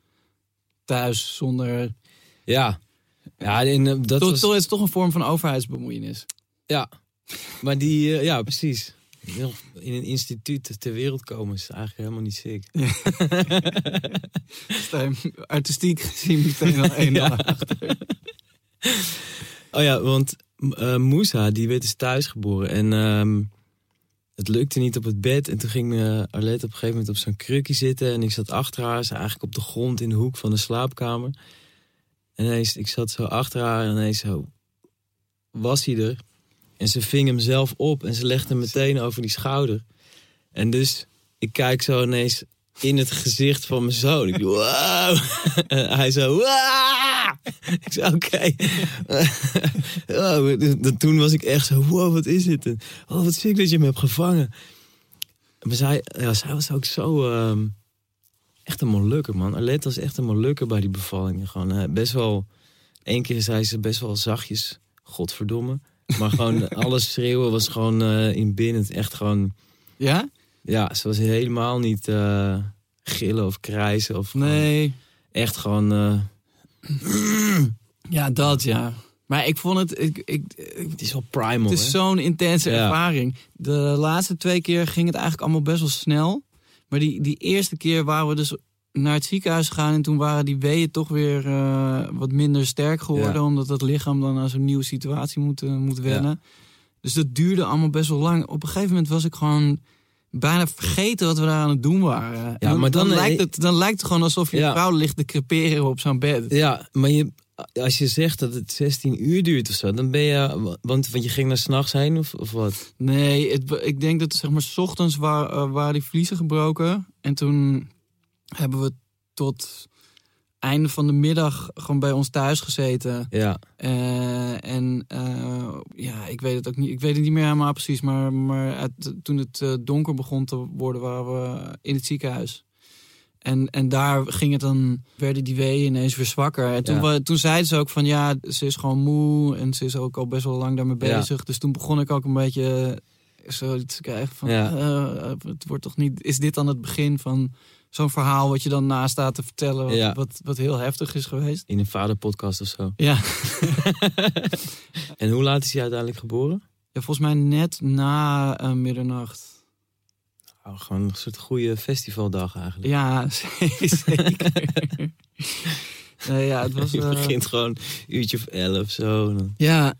[SPEAKER 3] thuis zonder.
[SPEAKER 4] Ja. Ja, en, eh, dat
[SPEAKER 3] Toch,
[SPEAKER 4] was...
[SPEAKER 3] toch is het toch een vorm van overheidsbemoeienis.
[SPEAKER 4] Ja. Maar die, eh, ja, precies. Nog In een instituut ter wereld komen is eigenlijk helemaal niet sick.
[SPEAKER 3] Sta je Artistiek gezien meteen al één
[SPEAKER 4] Ja.
[SPEAKER 3] dag achter.
[SPEAKER 4] Oh ja, want eh Moesa, die werd dus thuis geboren. En ehm, het lukte niet op het bed. En toen ging eh, Arlette op een gegeven moment op zo'n krukje zitten. En ik zat achter haar. Ze eigenlijk op de grond in de hoek van de slaapkamer. En ineens, ik zat zo achter haar. En ineens zo, was hij er. En ze ving hem zelf op. En ze legde hem meteen over die schouder. En dus, ik kijk zo ineens in het gezicht van mijn zoon. Ik doe, wow. En (laughs) hij zo, wow. Ik zei, oké. (laughs) Ja, maar d- d- toen was ik echt zo, wow, wat is dit? En, Oh, wat sick dat je hem hebt gevangen. Maar zij, ja, zij was ook zo... ehm, echt een molukker, man. Alette was echt een molukker bij die bevallingen. Gewoon eh, best wel... Eén keer zei ze best wel zachtjes, godverdomme. Maar
[SPEAKER 3] (laughs)
[SPEAKER 4] gewoon alles schreeuwen was gewoon eh, in binnen. Het Echt gewoon...
[SPEAKER 3] Ja?
[SPEAKER 4] Ja, ze was helemaal niet eh, gillen of krijsen. Of gewoon-
[SPEAKER 3] Nee.
[SPEAKER 4] echt gewoon... eh,
[SPEAKER 3] Ja, dat ja. Maar ik vond het. Ik, ik, ik-
[SPEAKER 4] het is wel primal,
[SPEAKER 3] het is
[SPEAKER 4] hè?
[SPEAKER 3] zo'n intense
[SPEAKER 4] Ja.
[SPEAKER 3] ervaring. De laatste twee keer ging het eigenlijk allemaal best wel snel. Maar die, die eerste keer waren we dus naar het ziekenhuis gegaan. En toen waren die weeën toch weer eh, wat minder sterk geworden.
[SPEAKER 4] Ja.
[SPEAKER 3] Omdat dat lichaam dan aan zo'n nieuwe situatie moet, eh, moet wennen. Dus dat duurde allemaal best wel lang. Op een gegeven moment was ik gewoon bijna vergeten wat we daar aan het doen waren. En dan,
[SPEAKER 4] maar
[SPEAKER 3] dan,
[SPEAKER 4] dan- eh,
[SPEAKER 3] lijkt het, dan lijkt het gewoon alsof je
[SPEAKER 4] Ja.
[SPEAKER 3] vrouw ligt te creperen op zo'n bed.
[SPEAKER 4] Ja, maar je, als je zegt dat het 16 uur duurt of zo, dan ben je. Want, want je ging naar s'nachts heen of, of wat?
[SPEAKER 3] Nee, het, wa- ik denk dat zeg maar, 's ochtends waar, eh, waren die vliezen gebroken. En toen hebben we tot einde van de middag gewoon bij ons thuis gezeten.
[SPEAKER 4] Ja,
[SPEAKER 3] Eh, en eh, ja, ik weet het ook niet. Ik weet het niet meer helemaal precies. Maar, maar uit- toen het eh, donker begon te worden, waren we in het ziekenhuis. En, en daar ging het dan, werden die weeën ineens weer zwakker. En toen,
[SPEAKER 4] Ja.
[SPEAKER 3] wa- toen zeiden ze ook van ja, ze is gewoon moe en ze is ook al best wel lang daarmee
[SPEAKER 4] Ja.
[SPEAKER 3] bezig. Dus toen begon ik ook een beetje eh, zoiets te krijgen van
[SPEAKER 4] Ja.
[SPEAKER 3] eh, het wordt toch niet, is dit dan het begin van zo'n verhaal wat je dan na staat te vertellen, wat,
[SPEAKER 4] Ja.
[SPEAKER 3] wat, wat heel heftig is geweest?
[SPEAKER 4] in een vaderpodcast of zo.
[SPEAKER 3] Ja.
[SPEAKER 4] (laughs) En hoe laat is hij uiteindelijk geboren?
[SPEAKER 3] Ja, volgens mij net na eh, middernacht.
[SPEAKER 4] Oh, gewoon een soort goede festivaldag eigenlijk.
[SPEAKER 3] Ja, (laughs) zeker. nee, ja, het was...
[SPEAKER 4] je
[SPEAKER 3] eh,
[SPEAKER 4] begint gewoon een uurtje of elf zo. en dan-
[SPEAKER 3] ja.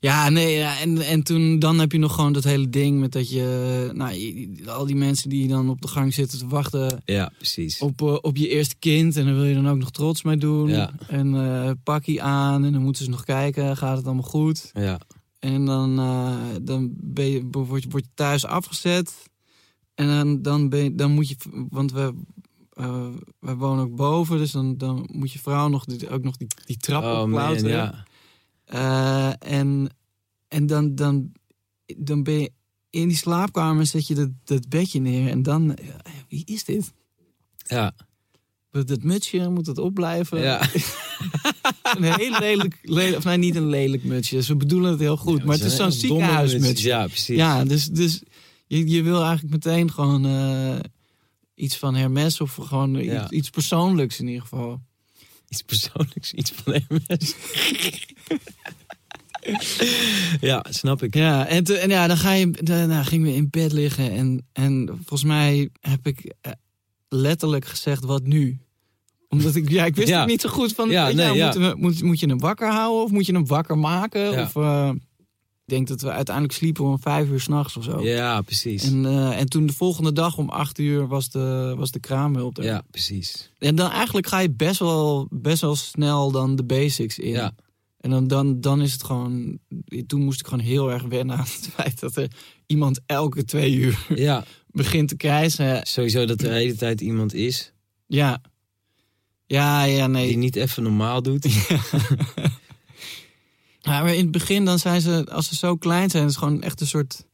[SPEAKER 3] Ja, nee, ja, en, en toen dan heb je nog gewoon dat hele ding met dat je... Nou, je- al die mensen die dan op de gang zitten te wachten
[SPEAKER 4] Ja, precies.
[SPEAKER 3] op, eh, op je eerste kind. En daar wil je dan ook nog trots mee doen.
[SPEAKER 4] Ja.
[SPEAKER 3] En eh pakkie aan en dan moeten ze nog kijken, gaat het allemaal goed?
[SPEAKER 4] Ja,
[SPEAKER 3] En dan, eh, dan ben je, word, je, word je thuis afgezet. En dan, dan, ben je, dan moet je, want we, eh, we wonen ook boven, dus dan, dan moet je vrouw nog die, ook nog die, die trap
[SPEAKER 4] oh man,
[SPEAKER 3] opklauteren.
[SPEAKER 4] ja.
[SPEAKER 3] Eh, en en dan, dan, dan ben je in die slaapkamer, zet je dat, dat bedje neer. En dan, eh, wie is dit?
[SPEAKER 4] Ja,
[SPEAKER 3] Dat, dat mutsje, moet het opblijven?
[SPEAKER 4] ja.
[SPEAKER 3] Een heel lelijk, lelijk, of nee, niet een lelijk mutsje. Ze bedoelen het heel goed, maar het is zo'n
[SPEAKER 4] Een domme
[SPEAKER 3] ziekenhuismutsje.
[SPEAKER 4] mensen. Ja, precies.
[SPEAKER 3] Ja, dus, dus je, je wil eigenlijk meteen gewoon eh, iets van Hermes of gewoon iets-
[SPEAKER 4] Ja.
[SPEAKER 3] iets, persoonlijks in ieder geval.
[SPEAKER 4] Iets persoonlijks, iets van MS. (laughs) Ja, snap ik.
[SPEAKER 3] Ja, en, toen- en ja, dan ga je, daarna gingen we in bed liggen. En, en volgens mij heb ik eh, letterlijk gezegd, wat nu? Omdat ik, ja, ik
[SPEAKER 4] (laughs)
[SPEAKER 3] wist
[SPEAKER 4] Ja.
[SPEAKER 3] het niet zo goed van,
[SPEAKER 4] Ja,
[SPEAKER 3] weet je,
[SPEAKER 4] nee,
[SPEAKER 3] nou,
[SPEAKER 4] ja.
[SPEAKER 3] moeten we- moet, moet je hem wakker houden of moet je hem wakker maken?
[SPEAKER 4] Ja.
[SPEAKER 3] Of, eh, ik denk dat we uiteindelijk sliepen om vijf uur s'nachts of zo.
[SPEAKER 4] Ja, precies.
[SPEAKER 3] En, eh, en toen de volgende dag om acht uur was de, was de kraamhulp er.
[SPEAKER 4] Ja, precies.
[SPEAKER 3] En dan eigenlijk ga je best wel, best wel snel dan de basics in.
[SPEAKER 4] Ja.
[SPEAKER 3] En dan, dan, dan is het gewoon... Toen moest ik gewoon heel erg wennen aan het (laughs) feit dat er iemand elke twee uur (laughs)
[SPEAKER 4] Ja,
[SPEAKER 3] begint te krijsen.
[SPEAKER 4] sowieso dat er de hele tijd iemand is
[SPEAKER 3] Ja. Ja, ja,
[SPEAKER 4] die
[SPEAKER 3] nee.
[SPEAKER 4] niet even normaal doet.
[SPEAKER 3] Ja, maar in het begin dan zijn ze, als ze zo klein zijn, is het gewoon echt een soort...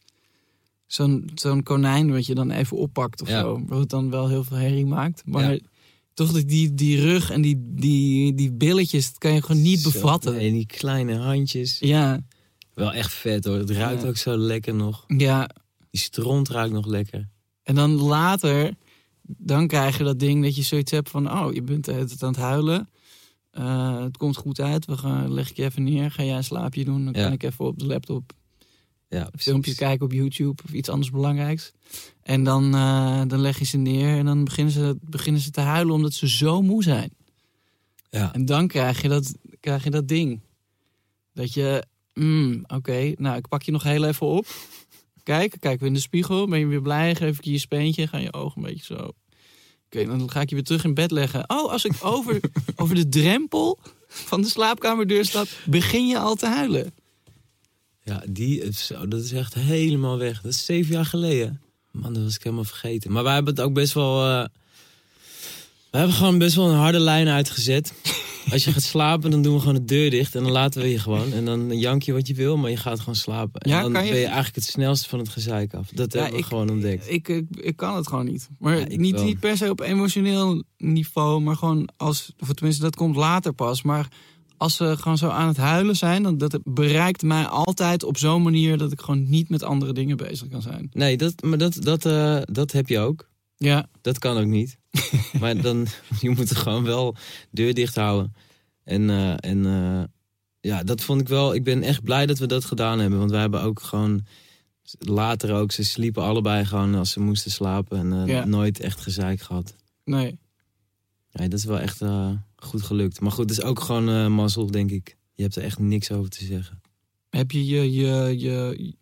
[SPEAKER 3] Zo'n zo'n konijn wat je dan even oppakt of
[SPEAKER 4] Ja.
[SPEAKER 3] zo. Wat dan wel heel veel herrie maakt. Maar
[SPEAKER 4] Ja.
[SPEAKER 3] toch die- die, die rug en die, die, die billetjes, dat kan je gewoon niet
[SPEAKER 4] (laughs) Zo,
[SPEAKER 3] bevatten.
[SPEAKER 4] En die kleine handjes.
[SPEAKER 3] Ja,
[SPEAKER 4] Wel echt vet hoor. Het ruikt
[SPEAKER 3] Ja.
[SPEAKER 4] ook zo lekker nog.
[SPEAKER 3] ja.
[SPEAKER 4] Die stront ruikt nog lekker.
[SPEAKER 3] En dan later, dan krijg je dat ding dat je zoiets hebt van... oh, je bent de hele tijd aan het huilen. Eh, het komt goed uit, we gaan, leg ik je even neer. Ga jij een slaapje doen, dan
[SPEAKER 4] Ja.
[SPEAKER 3] kan ik even op de laptop...
[SPEAKER 4] Ja,
[SPEAKER 3] filmpjes
[SPEAKER 4] precies.
[SPEAKER 3] kijken op YouTube of iets anders belangrijks. En dan, eh, dan leg je ze neer en dan beginnen ze, beginnen ze te huilen omdat ze zo moe zijn.
[SPEAKER 4] Ja.
[SPEAKER 3] En dan krijg je dat, krijg je dat ding. Dat je, mm, oké, nou ik pak je nog heel even op. Kijk, kijken we in de spiegel, ben je weer blij, geef ik je je speentje, gaan je ogen een beetje zo. Oké, dan ga ik je weer terug in bed leggen. Oh, als ik over, over de drempel van de slaapkamerdeur stap, begin je al te huilen.
[SPEAKER 4] Ja, die, zo, dat is echt helemaal weg. Dat is zeven jaar geleden. Man, dat was ik helemaal vergeten. Maar wij hebben het ook best wel... eh, we hebben gewoon best wel een harde lijn
[SPEAKER 3] (laughs)
[SPEAKER 4] uitgezet. Als je gaat slapen, dan doen we gewoon de deur dicht. En dan laten we je gewoon. En dan jank je wat je wil, maar je gaat gewoon slapen. En
[SPEAKER 3] Ja,
[SPEAKER 4] dan
[SPEAKER 3] kan je-
[SPEAKER 4] ben je eigenlijk het snelste van het gezeik af. Dat
[SPEAKER 3] Ja,
[SPEAKER 4] hebben we
[SPEAKER 3] ik-
[SPEAKER 4] gewoon ontdekt.
[SPEAKER 3] Ik, ik, ik kan het gewoon niet. Maar
[SPEAKER 4] Ja, ik
[SPEAKER 3] niet,
[SPEAKER 4] wel.
[SPEAKER 3] niet per se op emotioneel niveau, maar gewoon als, of tenminste dat komt later pas, maar als ze gewoon zo aan het huilen zijn, dan dat het bereikt mij altijd op zo'n manier dat ik gewoon niet met andere dingen bezig kan zijn.
[SPEAKER 4] Nee, dat, maar dat, dat, eh, dat heb je ook.
[SPEAKER 3] Ja,
[SPEAKER 4] Dat kan ook (laughs) niet. maar dan, je moet er gewoon wel deur dicht houden. En, eh, en eh, ja, dat vond ik wel. Ik ben echt blij dat we dat gedaan hebben. Want wij hebben ook gewoon later ook. Ze sliepen allebei gewoon als ze moesten slapen. En eh,
[SPEAKER 3] Ja.
[SPEAKER 4] nooit echt gezeik gehad.
[SPEAKER 3] nee.
[SPEAKER 4] Nee, dat is wel echt eh, goed gelukt. Maar goed, het is ook gewoon eh mazzel, denk ik. Je hebt er echt niks over te zeggen.
[SPEAKER 3] Heb je je, je, je,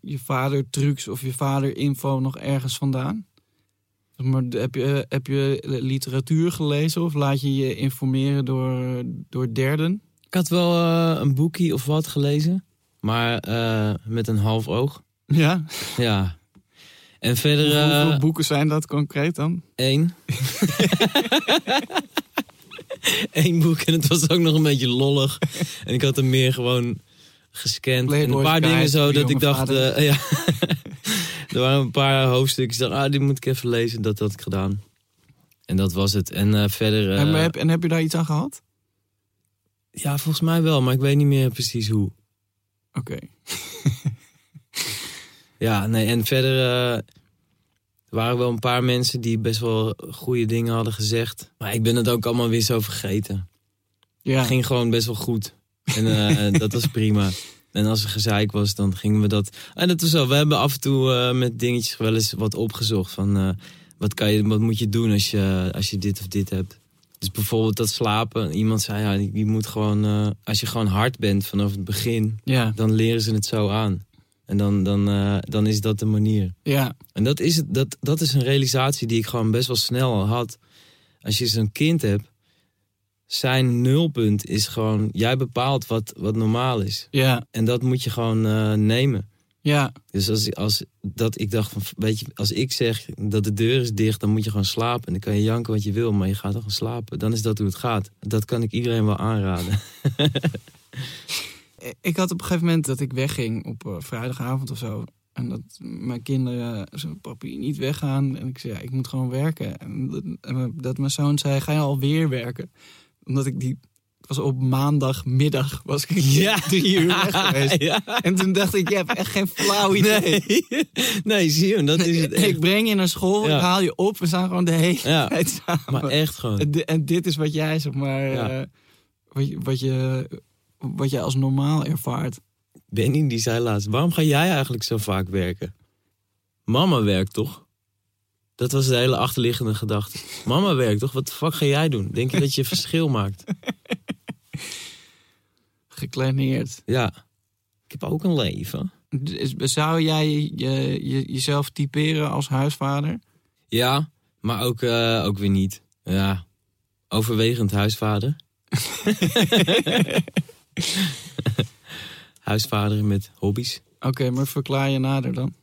[SPEAKER 3] je vader trucs of je vader info nog ergens vandaan? Zeg Maar heb je, heb je literatuur gelezen of laat je je informeren door, door derden?
[SPEAKER 4] Ik had wel eh, een boekje of wat gelezen. Maar eh, met een half oog.
[SPEAKER 3] Ja,
[SPEAKER 4] Ja. En verder...
[SPEAKER 3] Hoeveel
[SPEAKER 4] eh,
[SPEAKER 3] boeken zijn dat concreet dan?
[SPEAKER 4] Eén. (laughs) Eén boek en het was ook nog een beetje lollig. En ik had er meer gewoon gescand. en een
[SPEAKER 3] Playboy's
[SPEAKER 4] paar
[SPEAKER 3] Guide
[SPEAKER 4] dingen zo
[SPEAKER 3] voor
[SPEAKER 4] dat ik
[SPEAKER 3] jonge
[SPEAKER 4] dacht...
[SPEAKER 3] vaders.
[SPEAKER 4] eh, ja. (laughs) er waren een paar hoofdstukjes. Ik dacht, ah, die moet ik even lezen. Dat had ik gedaan. En dat was het. En eh, verder... eh,
[SPEAKER 3] en, heb, en heb je daar iets aan gehad?
[SPEAKER 4] Ja, volgens mij wel. Maar ik weet niet meer precies hoe.
[SPEAKER 3] Oké.
[SPEAKER 4] Ja, nee. En verder eh, er waren wel een paar mensen die best wel goede dingen hadden gezegd. Maar ik ben het ook allemaal weer zo vergeten.
[SPEAKER 3] Ja.
[SPEAKER 4] ging gewoon best wel goed. En eh, dat was prima. En als er gezeik was, dan gingen we dat. En dat was zo. We hebben af en toe eh, met dingetjes wel eens wat opgezocht. Van eh, wat, kan je, wat moet je doen als je, als je dit of dit hebt. Dus bijvoorbeeld dat slapen. Iemand zei, ja, je moet gewoon. eh, als je gewoon hard bent vanaf het begin,
[SPEAKER 3] Ja.
[SPEAKER 4] dan leren ze het zo aan. En dan, dan, eh, dan is dat de manier.
[SPEAKER 3] Ja.
[SPEAKER 4] En dat is, het- dat, dat is een realisatie die ik gewoon best wel snel al had. Als je zo'n kind hebt, zijn nulpunt is gewoon... Jij bepaalt wat, wat normaal is.
[SPEAKER 3] Ja.
[SPEAKER 4] En dat moet je gewoon eh, nemen.
[SPEAKER 3] Ja.
[SPEAKER 4] Dus als, als dat, ik dacht, van, weet je, als ik zeg dat de deur is dicht... dan moet je gewoon slapen. En dan kan je janken wat je wil, maar je gaat dan gewoon slapen. Dan is dat hoe het gaat. Dat kan ik iedereen wel
[SPEAKER 3] (laughs)
[SPEAKER 4] aanraden.
[SPEAKER 3] Ik had op een gegeven moment dat ik wegging op eh, vrijdagavond of zo. En dat mijn kinderen, zo'n papi, niet weggaan. En ik zei, ja, ik moet gewoon werken. En dat, en dat mijn zoon zei, ga je alweer werken? Omdat ik die... Het was op maandagmiddag was ik (laughs) drie uur weg geweest.
[SPEAKER 4] (laughs) ja.
[SPEAKER 3] En toen dacht ik, je hebt echt geen flauw idee.
[SPEAKER 4] Nee. (laughs) nee, zie je, hem, dat is het echt.
[SPEAKER 3] (laughs) Ik breng je naar school,
[SPEAKER 4] Ja.
[SPEAKER 3] ik haal je op. We staan gewoon de hele (laughs)
[SPEAKER 4] Ja.
[SPEAKER 3] tijd samen.
[SPEAKER 4] Maar echt gewoon.
[SPEAKER 3] En, di- en dit is wat jij zeg maar.
[SPEAKER 4] Ja.
[SPEAKER 3] eh, wat, je, wat, je, wat jij als normaal ervaart.
[SPEAKER 4] Benny die zei laatst, waarom ga jij eigenlijk zo vaak werken? Mama werkt toch? Dat was de hele achterliggende gedachte. Mama werkt toch? Wat de fuck ga jij doen? Denk je dat je verschil (laughs) maakt?
[SPEAKER 3] Gekleineerd.
[SPEAKER 4] Ja. Ik heb ook een leven.
[SPEAKER 3] Dus Zou jij je, je- jezelf typeren als huisvader?
[SPEAKER 4] Ja, maar ook, eh, ook weer niet. Ja. Overwegend huisvader. (laughs) huisvader met hobby's.
[SPEAKER 3] Oké, maar verklaar je nader dan.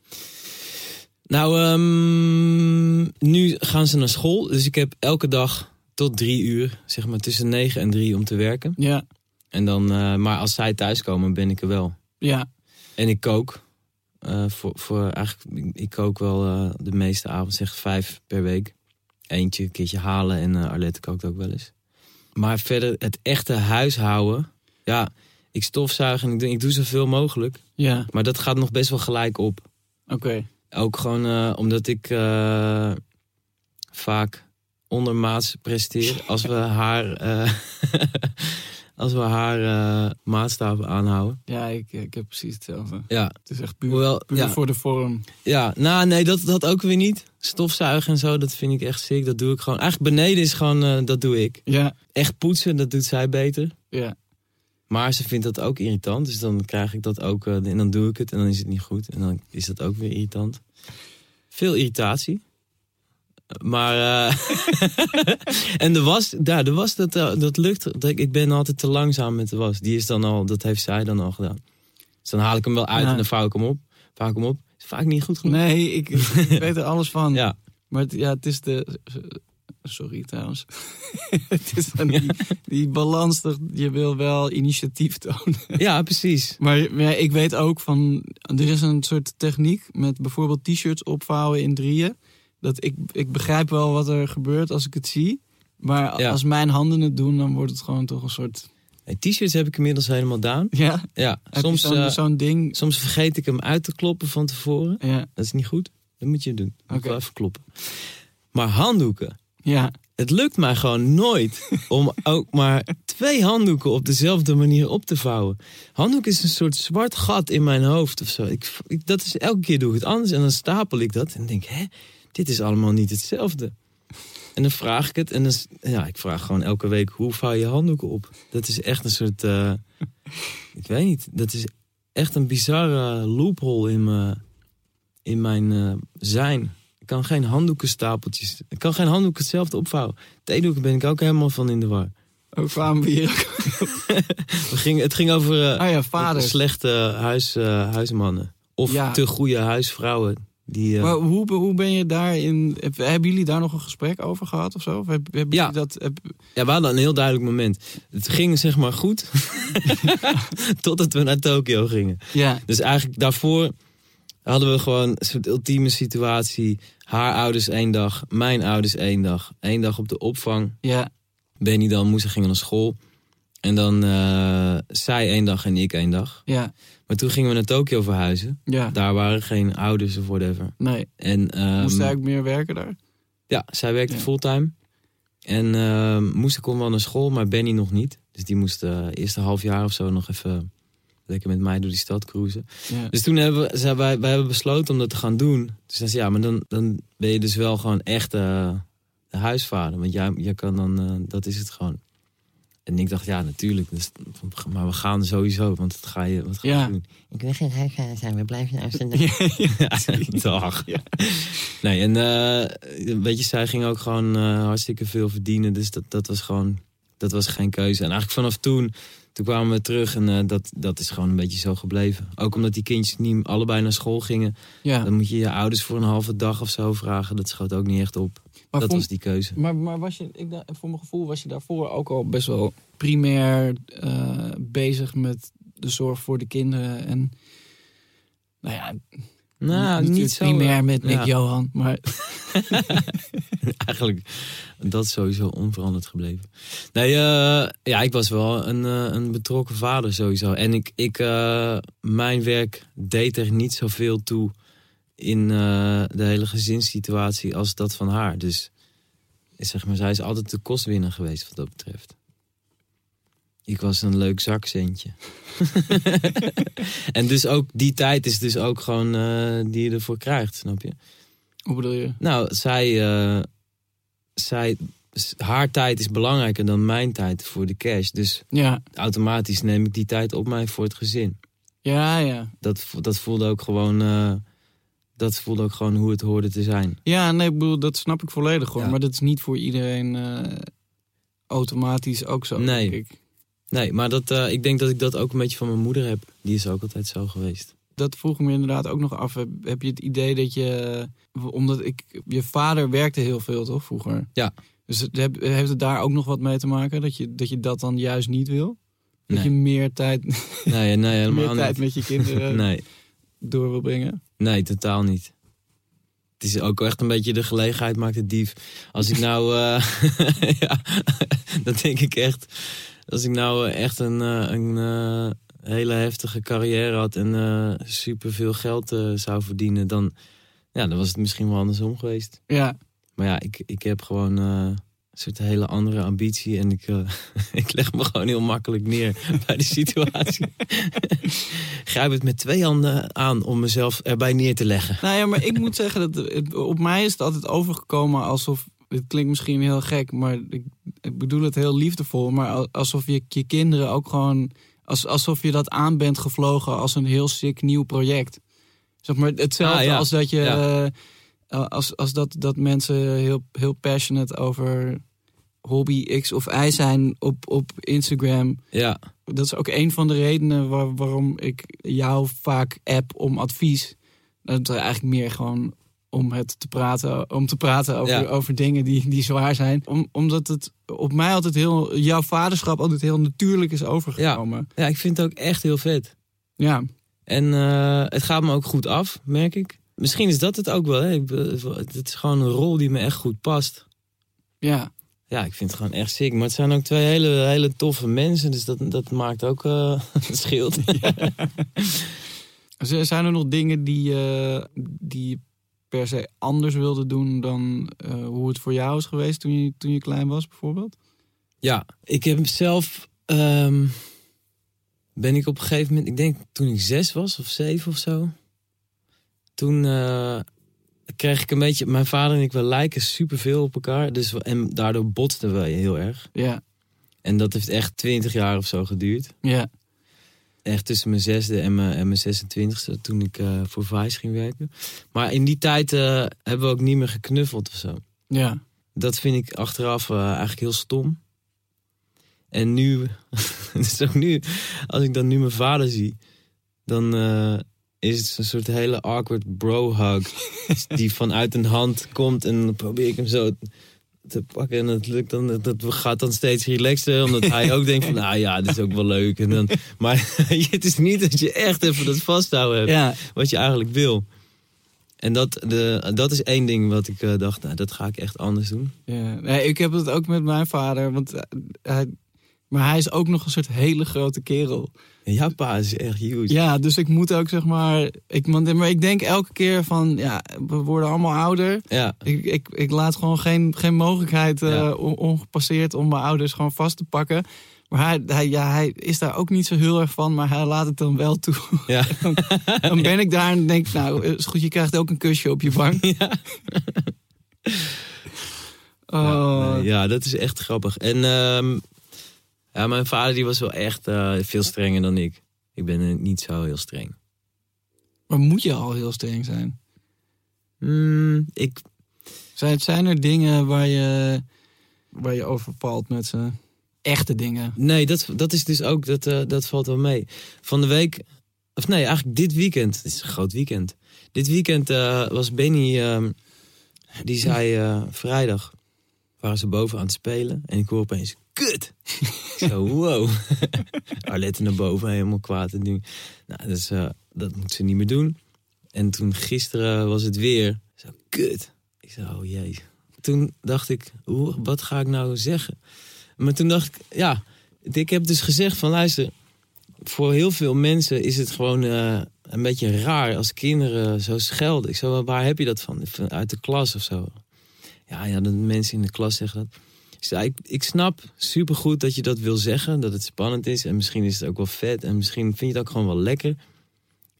[SPEAKER 4] Nou, ehm, nu gaan ze naar school. Dus ik heb elke dag tot drie uur, zeg maar tussen negen en drie om te werken.
[SPEAKER 3] Ja,
[SPEAKER 4] En dan, eh, maar als zij thuiskomen, ben ik er wel.
[SPEAKER 3] ja.
[SPEAKER 4] En ik kook. Eh, voor, voor eigenlijk, ik- ik kook wel eh, de meeste avond, zeg vijf per week. Eentje, een keertje halen en eh Arlette kookt ook wel eens. Maar verder, het echte huishouden. Ja, ik stofzuig en ik doe, ik doe zoveel mogelijk.
[SPEAKER 3] Ja,
[SPEAKER 4] Maar dat gaat nog best wel gelijk op.
[SPEAKER 3] oké.
[SPEAKER 4] Ook gewoon eh, omdat ik eh, vaak ondermaats presteer. Als we haar, eh, (laughs) als we haar eh, maatstaven aanhouden.
[SPEAKER 3] Ja, ik, ik heb precies hetzelfde.
[SPEAKER 4] Ja,
[SPEAKER 3] Het is echt puur,
[SPEAKER 4] hoewel,
[SPEAKER 3] puur
[SPEAKER 4] ja,
[SPEAKER 3] voor de vorm.
[SPEAKER 4] ja, nou nee, dat, dat ook weer niet. Stofzuigen en zo, dat vind ik echt sick. Dat doe ik gewoon. Eigenlijk beneden is gewoon, eh, dat doe ik.
[SPEAKER 3] Ja,
[SPEAKER 4] Echt poetsen, dat doet zij beter.
[SPEAKER 3] ja.
[SPEAKER 4] Maar ze vindt dat ook irritant. Dus dan krijg ik dat ook. eh, en dan doe ik het en dan is het niet goed. En dan is dat ook weer irritant. Veel irritatie. Maar. eh, (laughs) en de was, daar, de was dat, eh, dat lukt. Dat Ik ik ben altijd te langzaam met de was. Die is dan al, dat heeft zij dan al gedaan. Dus dan haal ik hem wel uit
[SPEAKER 3] Ja.
[SPEAKER 4] en dan vouw ik hem op. Vouw ik hem op. Is vaak niet goed genoeg.
[SPEAKER 3] Nee, ik, ik weet er alles van.
[SPEAKER 4] Ja.
[SPEAKER 3] Maar het, ja, het is de. Sorry trouwens. (laughs) het is dan die, die balans. dat Je wil wel initiatief tonen.
[SPEAKER 4] (laughs) ja, precies.
[SPEAKER 3] Maar, maar ik weet ook van. Er is een soort techniek met bijvoorbeeld t-shirts opvouwen in drieën. Dat ik, ik begrijp wel wat er gebeurt als ik het zie. Maar
[SPEAKER 4] Ja.
[SPEAKER 3] als mijn handen het doen, dan wordt het gewoon toch een soort. (laughs)
[SPEAKER 4] En T-shirts heb ik inmiddels helemaal down.
[SPEAKER 3] Ja,
[SPEAKER 4] Ja,
[SPEAKER 3] heb je
[SPEAKER 4] soms,
[SPEAKER 3] zo'n
[SPEAKER 4] eh,
[SPEAKER 3] zo'n ding.
[SPEAKER 4] soms vergeet ik hem uit te kloppen van tevoren.
[SPEAKER 3] Ja,
[SPEAKER 4] Dat is niet goed. Dat moet je doen. Moet ik
[SPEAKER 3] Oké.
[SPEAKER 4] wel even kloppen. Maar handdoeken.
[SPEAKER 3] ja,
[SPEAKER 4] Het lukt mij gewoon nooit om ook maar twee handdoeken op dezelfde manier op te vouwen. Handdoek is een soort zwart gat in mijn hoofd of zo. Ik, ik- dat is, elke keer doe ik het anders en dan stapel ik dat en denk, hè, dit is allemaal niet hetzelfde. En dan vraag ik het en dan, s- ja, ik vraag gewoon elke week, hoe vouw je handdoeken op? Dat is echt een soort, eh, ik weet niet, dat is echt een bizarre loophole in mijn, in mijn eh, zijn. Ik kan geen handdoekenstapeltjes, ik kan geen handdoeken hetzelfde opvouwen. Theedoeken ben ik ook helemaal van in de war.
[SPEAKER 3] ook kwamen we hier.
[SPEAKER 4] We gingen, het ging over eh,
[SPEAKER 3] (laughs) Ah ja, vader.
[SPEAKER 4] slechte huis, eh, huismannen. Of
[SPEAKER 3] Ja.
[SPEAKER 4] te goede huisvrouwen. Die, eh,
[SPEAKER 3] Maar hoe, be- hoe ben je daarin? heb- Hebben jullie daar nog een gesprek over gehad of zo? Of heb, hebben
[SPEAKER 4] Ja.
[SPEAKER 3] jullie dat? heb-
[SPEAKER 4] Ja, we hadden een heel duidelijk moment. Het ging zeg maar goed. (laughs) Totdat we naar Tokio gingen.
[SPEAKER 3] ja,
[SPEAKER 4] Dus eigenlijk daarvoor hadden we gewoon een soort ultieme situatie. Haar ouders één dag, mijn ouders één dag. Eén dag op de opvang.
[SPEAKER 3] ja,
[SPEAKER 4] Benny dan, Moes gingen naar school. En dan eh, zij één dag en ik één dag.
[SPEAKER 3] ja,
[SPEAKER 4] Maar toen gingen we naar Tokio verhuizen.
[SPEAKER 3] ja.
[SPEAKER 4] Daar waren geen ouders of whatever.
[SPEAKER 3] Nee,
[SPEAKER 4] En, ehm,
[SPEAKER 3] moest hij ook meer werken daar?
[SPEAKER 4] Ja, zij werkte
[SPEAKER 3] Ja.
[SPEAKER 4] fulltime. En eh Moes kon wel naar school, maar Benny nog niet. Dus die moest eh eerste half jaar of zo nog even lekker met mij door die stad cruisen.
[SPEAKER 3] Ja,
[SPEAKER 4] Dus toen hebben we, zei, wij, wij hebben besloten om dat te gaan doen. Dus zei ze, ja, maar dan, dan ben je dus wel gewoon echt eh, de huisvader. Want jij, jij kan dan, eh, dat is het gewoon. En ik dacht, ja, natuurlijk. Dus, maar we gaan sowieso, want dat ga je, wat ga je
[SPEAKER 3] Ja.
[SPEAKER 4] doen?
[SPEAKER 5] Ik wil geen huisvader zijn, we blijven nou in Amsterdam.
[SPEAKER 4] (laughs) Ja,
[SPEAKER 5] (laughs)
[SPEAKER 4] dag. Nee, en eh, weet je, zij ging ook gewoon eh, hartstikke veel verdienen. Dus dat, dat was gewoon, dat was geen keuze. En eigenlijk vanaf toen, toen kwamen we terug en eh, dat, dat is gewoon een beetje zo gebleven. Ook omdat die kindjes niet allebei naar school gingen.
[SPEAKER 3] ja.
[SPEAKER 4] Dan moet je je ouders voor een halve dag of zo vragen. Dat schoot ook niet echt op.
[SPEAKER 3] Maar,
[SPEAKER 4] dat
[SPEAKER 3] vond-
[SPEAKER 4] was die keuze.
[SPEAKER 3] maar, maar was je, ik, dacht- voor mijn gevoel was je daarvoor ook al best wel primair eh, bezig met de zorg voor de kinderen. En nou ja,
[SPEAKER 4] Nou,
[SPEAKER 3] natuurlijk
[SPEAKER 4] niet zo.
[SPEAKER 3] primair met Nick
[SPEAKER 4] Ja.
[SPEAKER 3] Johan. (laughs) Maar
[SPEAKER 4] Eigenlijk, dat is sowieso onveranderd gebleven. Nee, eh, ja, ik was wel een, eh, een betrokken vader sowieso. En ik, ik, eh, mijn werk deed er niet zoveel toe in eh, de hele gezinssituatie als dat van haar. Dus eh, zeg maar, zij is altijd de kostwinner geweest wat dat betreft. Ik was een leuk zakcentje. (laughs) en dus ook die tijd is dus ook gewoon eh, die je ervoor krijgt, snap je?
[SPEAKER 3] Hoe bedoel je?
[SPEAKER 4] Nou, zij, eh, zij, s- haar tijd is belangrijker dan mijn tijd voor de cash. Dus
[SPEAKER 3] Ja,
[SPEAKER 4] automatisch neem ik die tijd op mij voor het gezin.
[SPEAKER 3] ja, ja.
[SPEAKER 4] Dat, vo- dat voelde ook gewoon, eh, dat voelde ook gewoon hoe het hoorde te zijn.
[SPEAKER 3] Ja, nee, ik bedoel, dat snap ik volledig gewoon.
[SPEAKER 4] Ja.
[SPEAKER 3] Maar dat is niet voor iedereen eh, automatisch ook zo,
[SPEAKER 4] Nee.
[SPEAKER 3] denk ik.
[SPEAKER 4] Nee, maar dat, eh, ik denk dat ik dat ook een beetje van mijn moeder heb. Die is ook altijd zo geweest.
[SPEAKER 3] Dat vroeg ik me inderdaad ook nog af. Heb, heb je het idee dat je... Omdat ik... Je vader werkte heel veel, toch, vroeger?
[SPEAKER 4] Ja.
[SPEAKER 3] Dus het- heb- heeft het daar ook nog wat mee te maken? Dat je dat, je dat dan juist niet wil? Dat je
[SPEAKER 4] Nee,
[SPEAKER 3] meer tijd, (laughs)
[SPEAKER 4] nee, nee
[SPEAKER 3] meer
[SPEAKER 4] helemaal
[SPEAKER 3] tijd eh,
[SPEAKER 4] niet.
[SPEAKER 3] met je kinderen
[SPEAKER 4] (laughs) Nee,
[SPEAKER 3] door wil brengen?
[SPEAKER 4] nee, totaal niet. Het is ook echt een beetje de gelegenheid maakt het dief. Als ik nou, eh, (laughs) ja, dat denk ik echt. Als ik nou eh, echt een, eh, een eh, hele heftige carrière had en eh superveel geld eh, zou verdienen, dan, ja, dan was het misschien wel andersom geweest.
[SPEAKER 3] Ja,
[SPEAKER 4] Maar ja, ik, ik heb gewoon eh, een soort hele andere ambitie. En ik, eh, (laughs) ik leg me gewoon heel makkelijk neer (laughs) bij de situatie. (laughs) Grijp het met twee handen aan om mezelf erbij neer te leggen.
[SPEAKER 3] (laughs) Nou ja, maar ik moet zeggen dat het- op mij is het altijd overgekomen alsof. Het klinkt misschien heel gek, maar ik, ik bedoel het heel liefdevol. Maar al- alsof je je kinderen ook gewoon. Als, alsof je dat aan bent gevlogen als een heel sick nieuw project. Zeg maar hetzelfde
[SPEAKER 4] Ah, ja.
[SPEAKER 3] als dat je.
[SPEAKER 4] Ja.
[SPEAKER 3] eh, als, als dat, dat mensen heel, heel passionate over hobby X of Y zijn op, op Instagram.
[SPEAKER 4] Ja,
[SPEAKER 3] Dat is ook een van de redenen waar- waarom ik jou vaak app om advies. Dat is eigenlijk meer gewoon om het te praten, om te praten over,
[SPEAKER 4] Ja.
[SPEAKER 3] over dingen die, die zwaar zijn. Om, omdat het op mij altijd heel, jouw vaderschap altijd heel natuurlijk is overgekomen.
[SPEAKER 4] ja, ik vind het ook echt heel vet.
[SPEAKER 3] Ja,
[SPEAKER 4] En eh, het gaat me ook goed af, merk ik. Misschien is dat het ook wel. Hè? Ik be- Het is gewoon een rol die me echt goed past.
[SPEAKER 3] ja,
[SPEAKER 4] Ja, ik vind het gewoon echt sick. Maar het zijn ook twee hele, hele toffe mensen. Dus dat, dat maakt ook eh (laughs) het scheelt.
[SPEAKER 3] Z- Zijn er nog dingen die, eh, die je per se anders wilde doen dan eh, hoe het voor jou is geweest toen je, toen je klein was bijvoorbeeld?
[SPEAKER 4] Ja, ik heb zelf. ehm, ben ik op een gegeven moment, ik denk toen ik zes was of zeven of zo. Toen eh, kreeg ik een beetje. Mijn vader en ik, we lijken superveel op elkaar. Dus, we- en daardoor botsten we heel erg.
[SPEAKER 3] Ja,
[SPEAKER 4] En dat heeft echt twintig jaar of zo geduurd.
[SPEAKER 3] ja,
[SPEAKER 4] Echt tussen mijn zesde en mijn, en mijn 26e toen ik eh, voor Vice ging werken. Maar in die tijd eh, hebben we ook niet meer geknuffeld of zo
[SPEAKER 3] ja.
[SPEAKER 4] dat vind ik achteraf eh, eigenlijk heel stom. En nu, (laughs) dus ook nu, als ik dan nu mijn vader zie, dan eh, is het een soort hele awkward bro-hug. die vanuit een hand komt en dan probeer ik hem zo te pakken. En dat lukt dan, dat- dat gaat dan steeds relaxter, omdat hij ook denkt van, nou ja, dit is ook wel leuk. En dan, maar (laughs) het is niet dat je echt even dat vasthouden hebt
[SPEAKER 3] ja.
[SPEAKER 4] wat je eigenlijk wil. En dat, de, dat is één ding wat ik eh, dacht, nou, dat ga ik echt anders doen.
[SPEAKER 3] Ja, nee, ik heb het ook met mijn vader. Want eh, hij, maar hij is ook nog een soort hele grote kerel.
[SPEAKER 4] En jouw pa is echt huge.
[SPEAKER 3] Ja, dus ik moet ook zeg maar. Ik, want- maar ik denk elke keer van ja, we worden allemaal ouder.
[SPEAKER 4] Ja,
[SPEAKER 3] Ik, ik, ik laat gewoon geen, geen mogelijkheid eh,
[SPEAKER 4] Ja.
[SPEAKER 3] on- ongepasseerd om mijn ouders gewoon vast te pakken. Maar hij, hij, ja, hij is daar ook niet zo heel erg van, maar hij laat het dan wel toe.
[SPEAKER 4] (laughs) ja.
[SPEAKER 3] Dan ben ik daar en denk ik, nou, is goed, je krijgt ook een kusje op je wang.
[SPEAKER 4] (laughs)
[SPEAKER 3] Oh,
[SPEAKER 4] Nee, ja dat is echt grappig. En ehm, ja, mijn vader die was wel echt eh, veel strenger dan ik. Ik ben eh, niet zo heel streng.
[SPEAKER 3] Maar moet je al heel streng zijn? Mm,
[SPEAKER 4] Hmm, ik,
[SPEAKER 3] Zijn, zijn er dingen waar je, waar je over valt met ze? Echte dingen.
[SPEAKER 4] nee, dat, dat is dus ook, dat, eh, dat valt wel mee. Van de week, of nee, eigenlijk dit weekend. Het is een groot weekend. Dit weekend eh, was Benny, ehm, die zei eh, vrijdag waren ze boven aan het spelen. En ik hoor opeens, kut! Ik Zo, (laughs) wow. Arlette naar boven, helemaal kwaad. En ding. Nou, dus, eh, dat moet ze niet meer doen. En toen gisteren was het weer, zo, kut. Ik zei, oh jee. Toen dacht ik, hoe, wat ga ik nou zeggen? Maar toen dacht ik, ja, ik heb dus gezegd van, luister... Voor heel veel mensen is het gewoon eh, een beetje raar als kinderen zo schelden. Ik zei, waar heb je dat van? Van Uit de klas of zo. Ja, ja, dat mensen in de klas zeggen dat. Dus ja, ik, ik snap supergoed dat je dat wil zeggen, dat het spannend is. En misschien is het ook wel vet en misschien vind je het ook gewoon wel lekker.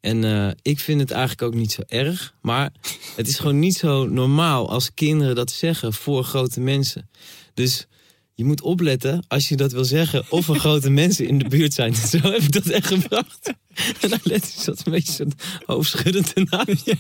[SPEAKER 4] En eh, ik vind het eigenlijk ook niet zo erg. Maar het is gewoon niet zo normaal als kinderen dat zeggen voor grote mensen. Dus je moet opletten als je dat wil zeggen of er grote (laughs) mensen in de buurt zijn. (laughs) Zo heb ik dat echt gebracht. (laughs) En Arlette zat een beetje zo'n hoofdschuddend ernaast.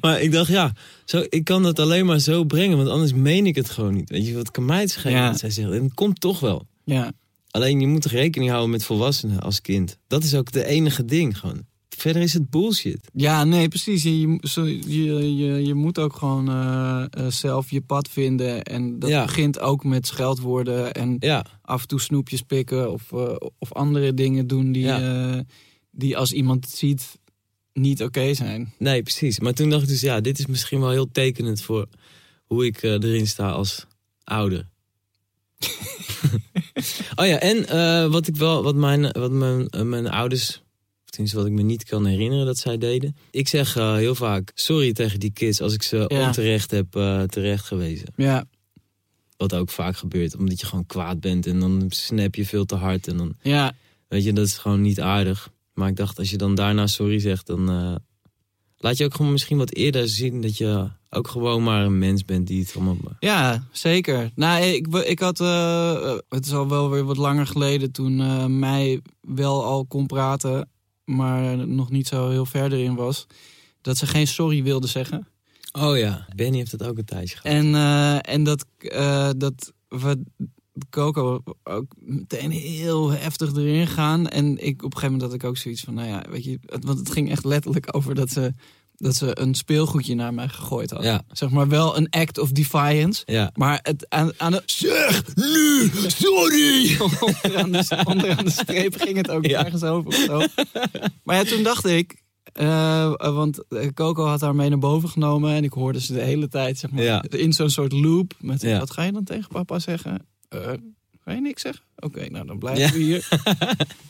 [SPEAKER 4] Maar ik dacht, ja, zo, ik kan dat alleen maar zo brengen, want anders meen ik het gewoon niet. Weet je, wat kan mij het schelen
[SPEAKER 3] Ja.
[SPEAKER 4] wat zij zegt? En het komt toch wel.
[SPEAKER 3] Ja.
[SPEAKER 4] Alleen je moet toch rekening houden met volwassenen als kind. Dat is ook de enige ding gewoon. Verder is het bullshit.
[SPEAKER 3] Ja, nee, precies. Je, je, zo- je, je, je moet ook gewoon eh, eh, zelf je pad vinden. En dat
[SPEAKER 4] Ja.
[SPEAKER 3] begint ook met scheldwoorden en
[SPEAKER 4] Ja,
[SPEAKER 3] af en toe snoepjes pikken of, eh, of andere dingen doen die, eh, die als iemand het ziet niet oké zijn.
[SPEAKER 4] nee, precies. Maar toen dacht ik dus, ja, dit is misschien wel heel tekenend voor hoe ik eh, erin sta als ouder. (laughs) oh ja, en eh, wat ik wel, wat mijn, wat mijn, eh, mijn ouders, of tenminste wat ik me niet kan herinneren dat zij deden. Ik zeg eh, heel vaak sorry tegen die kids als ik ze
[SPEAKER 3] Ja.
[SPEAKER 4] onterecht heb eh terecht gewezen.
[SPEAKER 3] Ja,
[SPEAKER 4] Wat ook vaak gebeurt, omdat je gewoon kwaad bent en dan snap je veel te hard. En dan,
[SPEAKER 3] ja,
[SPEAKER 4] weet je, dat is gewoon niet aardig. Maar ik dacht, als je dan daarna sorry zegt, dan eh, laat je ook gewoon misschien wat eerder zien dat je ook gewoon maar een mens bent die het allemaal.
[SPEAKER 3] ja, zeker. Nou, ik, ik had, eh, het is al wel weer wat langer geleden toen eh, mij wel al kon praten, maar nog niet zo heel verder in was, dat ze geen sorry wilde zeggen.
[SPEAKER 4] Oh ja, Benny heeft dat ook een tijdje gehad.
[SPEAKER 3] En, eh, en dat, eh, dat we Coco ook meteen heel heftig erin gaan. En ik, op een gegeven moment had ik ook zoiets van, nou ja, weet je, het- want het ging echt letterlijk over dat ze, dat ze een speelgoedje naar mij gegooid had.
[SPEAKER 4] Ja.
[SPEAKER 3] Zeg maar wel een act of defiance.
[SPEAKER 4] Ja.
[SPEAKER 3] Maar het aan, aan de. Zeg nu! Sorry! onderaan, de, onderaan de streep ging het ook
[SPEAKER 4] Ja.
[SPEAKER 3] ergens over. Of zo. Maar ja, toen dacht ik. eh, eh, want eh, Coco had haar mee naar boven genomen. En ik hoorde ze de hele tijd zeg maar,
[SPEAKER 4] Ja.
[SPEAKER 3] in zo'n soort loop. Met,
[SPEAKER 4] Ja.
[SPEAKER 3] Wat ga je dan tegen papa zeggen? Eh, ga je niks zeggen? Oké, nou dan blijven
[SPEAKER 4] Ja.
[SPEAKER 3] we
[SPEAKER 4] (laughs)
[SPEAKER 3] hier.